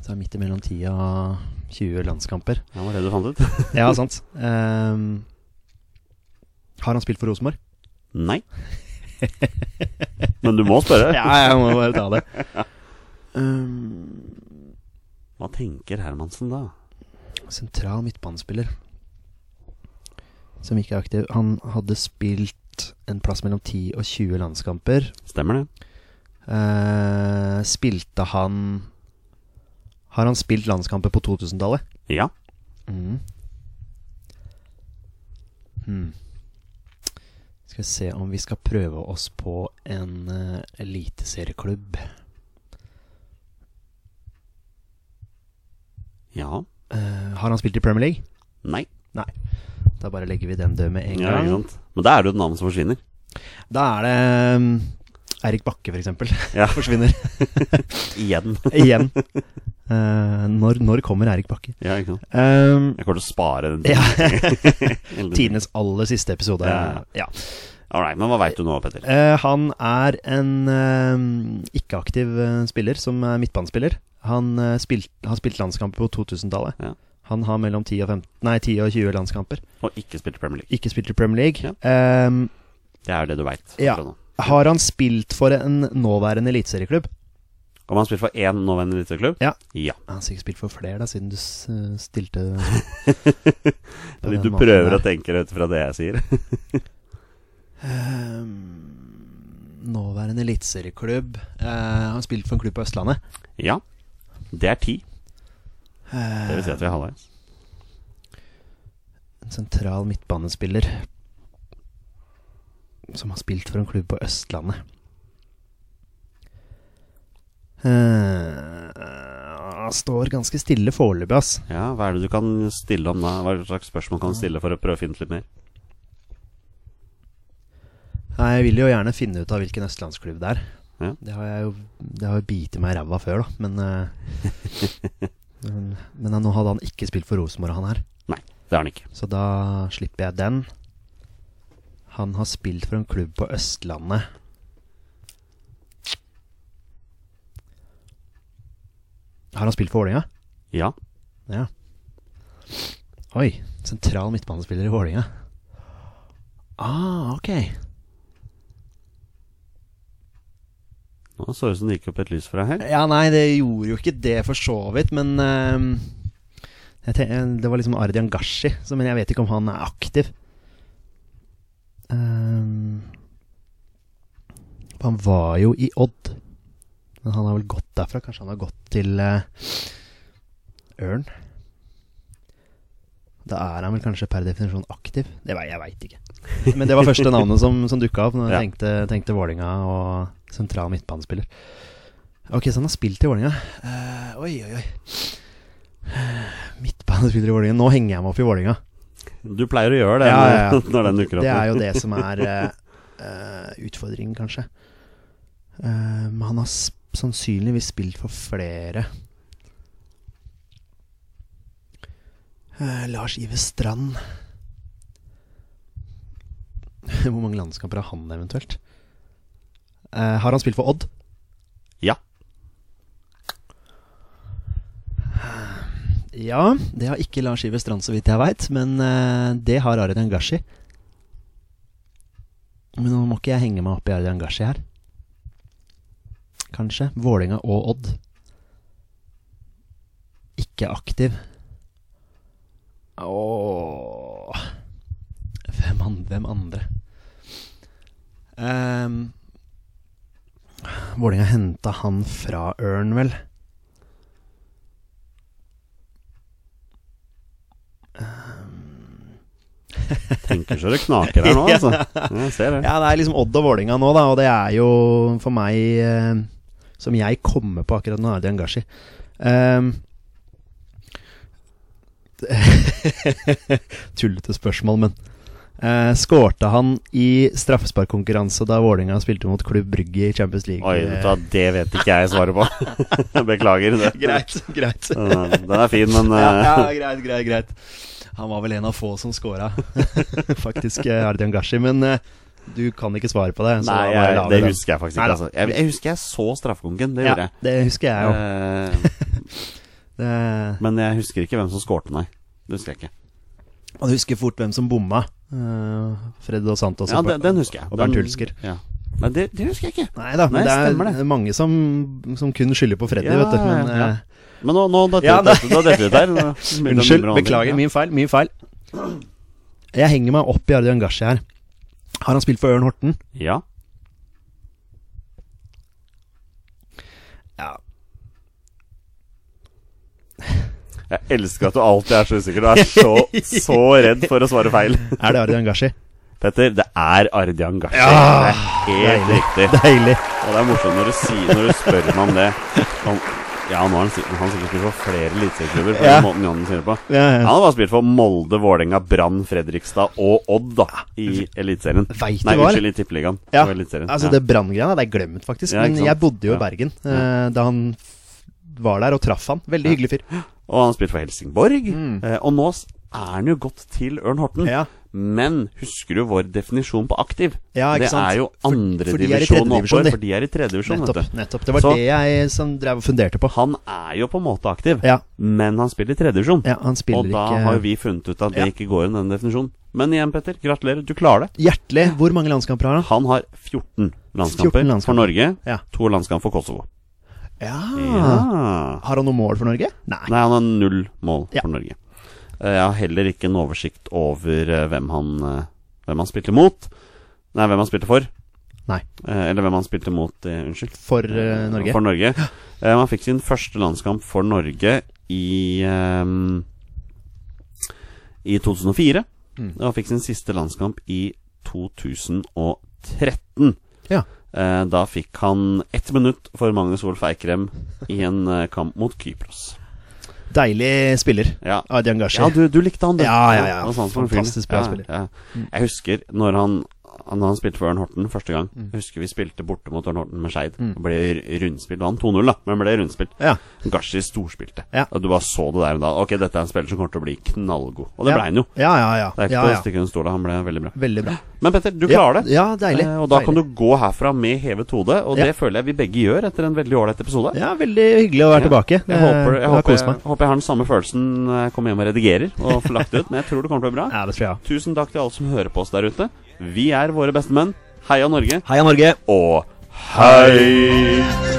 Speaker 3: Så er han midt imellom 10 og 20 landskamper.
Speaker 2: Det var det du fant ut.
Speaker 3: Ja, sant. Ehm, har han spilt for Rosenborg?
Speaker 2: Nei. Men du må spørre.
Speaker 3: Ja, jeg må bare ta det. Ehm,
Speaker 2: Hva tenker Hermansen da?
Speaker 3: sentral midtbanespiller som ikke er aktiv. Han hadde spilt en plass mellom 10 og 20 landskamper.
Speaker 2: Stemmer det?
Speaker 3: Eh, spilte han Har han spilt landskamper på 2000-tallet?
Speaker 2: Ja. Mm.
Speaker 3: Hmm. Skal vi se om vi skal prøve oss på en eh, eliteserieklubb.
Speaker 2: Ja.
Speaker 3: Eh, har han spilt i Premier League?
Speaker 2: Nei.
Speaker 3: Da bare legger vi den død med en
Speaker 2: Ja, ikke
Speaker 3: gang.
Speaker 2: sant? Men da er det jo et navn som forsvinner.
Speaker 3: Da er det mm, Eirik Bakke, for eksempel.
Speaker 2: Ja.
Speaker 3: Forsvinner
Speaker 2: Igjen.
Speaker 3: igjen. Eh, når, når kommer Eirik Bakke?
Speaker 2: Ja, ikke sant?
Speaker 3: Um,
Speaker 2: Jeg kommer til å spare den.
Speaker 3: ja.
Speaker 2: Eller-
Speaker 3: Tidenes aller siste episode.
Speaker 2: Ja.
Speaker 3: ja.
Speaker 2: All right, men hva veit du nå, Petter?
Speaker 3: Eh, han er en eh, ikke-aktiv eh, spiller, som er midtbanespiller. Han eh, spilt, har spilt landskamper på 2000-tallet.
Speaker 2: Ja.
Speaker 3: Han har mellom 10 og, 15, nei, 10 og 20 landskamper.
Speaker 2: Og ikke spilt i Premier League.
Speaker 3: Ikke spilt i Premier League.
Speaker 2: Ja.
Speaker 3: Eh,
Speaker 2: Det er jo det du veit.
Speaker 3: Ja. har han spilt for en nåværende eliteserieklubb?
Speaker 2: Om han spilt for én nåværende eliteserieklubb?
Speaker 3: Ja.
Speaker 2: ja.
Speaker 3: Han har sikkert spilt for flere, da, siden du s eh, stilte
Speaker 2: Fordi du prøver å tenke ut fra det jeg sier.
Speaker 3: Ehm, Nåværende eliteserieklubb. Eh, han har spilt for en klubb på Østlandet.
Speaker 2: Ja. Det er ti.
Speaker 3: Eh,
Speaker 2: Det vil si at vi er halvveis.
Speaker 3: En sentral midtbanespiller som har spilt for en klubb på Østlandet. Eh, han står ganske stille foreløpig, ass.
Speaker 2: Ja, hva er det du kan stille om da? Hva slags spørsmål kan du stille for å prøve å finne ut litt mer?
Speaker 3: Nei, Jeg vil jo gjerne finne ut av hvilken østlandsklubb det er.
Speaker 2: Ja.
Speaker 3: Det har jeg jo Det har jo bitt meg i ræva før, da. Men, eh, men, men eh, nå hadde han ikke spilt for Rosenborg, han her.
Speaker 2: Nei, det har han ikke.
Speaker 3: Så da slipper jeg den. Han har spilt for en klubb på Østlandet. Har han spilt for Vålerenga?
Speaker 2: Ja.
Speaker 3: Ja. Oi. Sentral midtbanespiller i Vålerenga. Ah, ok.
Speaker 2: Nå så det ut som det gikk opp et lys for deg her.
Speaker 3: Ja, nei, det gjorde jo ikke det for så vidt, men ehm, jeg ten- Det var liksom Ardian Gashi, så, men jeg vet ikke om han er aktiv. Ehm, han var jo i Odd, men han har vel gått derfra. Kanskje han har gått til eh, Ørn? Da er han vel kanskje per definisjon aktiv? Det vei, Jeg veit ikke. Men det var første navnet som, som dukka opp når jeg tenkte, tenkte Vålinga og sentral midtbanespiller. Ok, så han har spilt i Vålinga. oi, oi, oi. Midtbanespiller i Vålinga. Nå henger jeg meg opp i Vålinga.
Speaker 2: Du pleier å gjøre det
Speaker 3: Ja, ja, ja.
Speaker 2: når- når den dukker opp.
Speaker 3: Det er jo det som er eh, eh, utfordringen, kanskje. Eh, Men han har s- sannsynligvis spilt for flere. Eh, Lars Iver Strand. Hvor mange landskamper har han eventuelt? Eh, har han spilt for Odd?
Speaker 2: Ja.
Speaker 3: Eh, Ja, det har ikke Lars Iver Strand, så vidt jeg veit. Men eh, det har Arian Gashi. Men nå må ikke jeg henge meg opp i Arian Gashi her. Kanskje. Vålinga og Odd. Ikke aktiv. Ååå Hvem, an hvem andre? Um, Vålinga henta han fra Ørn, vel?
Speaker 2: Tenker så det knaker her nå, altså. Jeg ser det.
Speaker 3: Ja, det er liksom Odd og Vålinga nå, da, og det er jo for meg eh, Som jeg kommer på akkurat nå, er det Engashi. Um, Tullete spørsmål, men eh, Skårte han i straffesparkkonkurranse da Vålinga spilte mot Klubb Brygge i Champions League?
Speaker 2: Oi, vet du hva, det vet ikke jeg svaret på. Beklager. Det.
Speaker 3: greit, greit.
Speaker 2: Den er- Den er fin, men
Speaker 3: ja,
Speaker 2: eh,
Speaker 3: ja, greit, greit, greit. Han var vel en av få som scora, faktisk, eh, Ardian Gashi. Men eh, du kan ikke svare på det. så da
Speaker 2: Nei,
Speaker 3: må
Speaker 2: jeg,
Speaker 3: la
Speaker 2: det
Speaker 3: det, da.
Speaker 2: husker jeg faktisk
Speaker 3: Nei
Speaker 2: ikke.
Speaker 3: da.
Speaker 2: Altså. Jeg, jeg husker jeg så straffekonken, det
Speaker 3: Ja,
Speaker 2: gjorde jeg.
Speaker 3: det husker jeg òg.
Speaker 2: Eh,
Speaker 3: Man
Speaker 2: men jeg husker ikke hvem som skårte, nei. Det husker jeg ikke.
Speaker 3: husker fort hvem som bomma. Uh, Fred og Santos.
Speaker 2: Ja,
Speaker 3: og-
Speaker 2: den, den husker jeg.
Speaker 3: Og Bernt
Speaker 2: Den-
Speaker 3: Hulsker.
Speaker 2: Ja. Nei, det, det husker jeg ikke.
Speaker 3: Nei da, men
Speaker 2: Nei,
Speaker 3: det er
Speaker 2: stemmer
Speaker 3: mange som, som kun skylder på Freddy,
Speaker 2: Ja,
Speaker 3: vet du. Men,
Speaker 2: ja.
Speaker 3: eh,
Speaker 2: Men nå, nå detter
Speaker 3: Ja,
Speaker 2: det da detter det ut her.
Speaker 3: Unnskyld, beklager. Min feil. Min feil. Jeg henger meg opp i Ardian Gashi her. Har han spilt for Ørn Horten?
Speaker 2: Ja.
Speaker 3: Ja.
Speaker 2: Jeg elsker at du alltid er så usikker. Du er så, så redd for å svare feil.
Speaker 3: Er det Ardian Gashi?
Speaker 2: Petter, det er Ardian Gashi.
Speaker 3: Ja,
Speaker 2: det er helt riktig.
Speaker 3: Deilig.
Speaker 2: Og det er morsomt når du, sier, når du spør meg om det. Han, ja, nå har han, sikkert- han har sikkert spilt for flere eliteserieklubber, på
Speaker 3: Ja.
Speaker 2: den måten Johansen sier det på.
Speaker 3: Ja, ja.
Speaker 2: Han har bare spilt for Molde, Vålerenga, Brann, Fredrikstad og Odd, da, i Eliteserien.
Speaker 3: Vet du
Speaker 2: Nei,
Speaker 3: hva?
Speaker 2: unnskyld, i Tippeligaen.
Speaker 3: Ja,
Speaker 2: Det var Eliteserien.
Speaker 3: Altså,
Speaker 2: Ja.
Speaker 3: det branngreiene hadde jeg glemt, faktisk.
Speaker 2: Ja,
Speaker 3: men
Speaker 2: ikke sant?
Speaker 3: jeg bodde jo
Speaker 2: Ja.
Speaker 3: i Bergen eh, da han f- var der, og traff han. Veldig hyggelig fyr.
Speaker 2: Og han har spilt for Helsingborg. Eh, og nå s- er han jo gått til Ørn Horten.
Speaker 3: Mm. Ja.
Speaker 2: Men husker du vår definisjon på aktiv?
Speaker 3: Ja, ikke
Speaker 2: det
Speaker 3: sant?
Speaker 2: er jo
Speaker 3: For- for de er i
Speaker 2: andredivisjon
Speaker 3: tredje divisjon,
Speaker 2: oppover,
Speaker 3: de.
Speaker 2: for de er i tredjedivisjon.
Speaker 3: Nettopp. nettopp Det var
Speaker 2: Sånn, Så-
Speaker 3: det jeg som drev og funderte på.
Speaker 2: Han er jo på en måte aktiv,
Speaker 3: Ja.
Speaker 2: men han spiller i tredjedivisjon.
Speaker 3: Ja, han spiller
Speaker 2: og da
Speaker 3: ikke-
Speaker 2: har jo vi funnet ut at det
Speaker 3: Ja.
Speaker 2: ikke går under den definisjonen. Men igjen, Petter, gratulerer. Du klarer det.
Speaker 3: Hjertelig, hvor mange landskamper har han?
Speaker 2: Han har 14 landskamper,
Speaker 3: 14 landskamper.
Speaker 2: for Norge,
Speaker 3: Ja. Ah.
Speaker 2: to landskamper for Kosovo.
Speaker 3: Ja.
Speaker 2: Ja.
Speaker 3: Har han noe mål for Norge? Nei.
Speaker 2: Nei, han har null mål
Speaker 3: Ja.
Speaker 2: for Norge. Eh, Jeg har heller ikke en oversikt over eh, hvem han, eh, hvem han spilte mot. Nei, hvem han spilte for.
Speaker 3: Nei.
Speaker 2: Eh, Eller hvem han spilte mot, eh, unnskyld.
Speaker 3: For eh, Norge?
Speaker 2: For Norge. Eh, Han fikk sin første landskamp for Norge i ehm, I 2004. Og han fikk sin siste landskamp i 2013.
Speaker 3: Ja.
Speaker 2: Eh, Da fikk han ett minutt for Magnus Wolff Eikrem i en eh, kamp mot Kypros.
Speaker 3: Deilig spiller.
Speaker 2: Ja,
Speaker 3: Adian Gashi.
Speaker 2: ja du, du likte han, du.
Speaker 3: Ja, ja, ja.
Speaker 2: Det var sånn som en
Speaker 3: Fantastisk
Speaker 2: fyr.
Speaker 3: bra spiller. Mm.
Speaker 2: Ja, ja. Jeg husker når han Når han spilte for Ørn Horten første gang.
Speaker 3: Mm.
Speaker 2: Jeg husker vi spilte borte mot Ørn Horten med Skeid. Og Ble r- rundspilt. Han 2-0, da, men ble rundspilt.
Speaker 3: Ja.
Speaker 2: Gashi storspilte.
Speaker 3: Ja.
Speaker 2: Og du bare så det der og da. Ok, dette er en spiller som kommer til å bli knallgod. Og det
Speaker 3: Ja.
Speaker 2: ble han jo.
Speaker 3: Ja, ja, ja.
Speaker 2: Det er ikke
Speaker 3: ja,
Speaker 2: til å
Speaker 3: ja.
Speaker 2: stikke under stol, han ble veldig bra.
Speaker 3: Veldig bra.
Speaker 2: Men Petter, du klarer det.
Speaker 3: Ja, ja, deilig.
Speaker 2: Eh, og da kan
Speaker 3: Deilig.
Speaker 2: du gå herfra med hevet hode, og
Speaker 3: Ja.
Speaker 2: det føler jeg vi begge gjør etter en veldig ålreit episode.
Speaker 3: Ja, veldig hyggelig å være tilbake. Eh,
Speaker 2: Jeg, håper, jeg,
Speaker 3: har
Speaker 2: håper,
Speaker 3: kost
Speaker 2: jeg,
Speaker 3: meg.
Speaker 2: håper jeg har den samme følelsen når jeg kommer hjem og redigerer og får lagt det ut, men jeg tror det kommer til å bli bra.
Speaker 3: Ja, det tror jeg.
Speaker 2: Tusen takk til alle som hører på oss der ute. Vi er våre beste menn. Heia Norge,
Speaker 3: Heia Norge!
Speaker 2: og hei!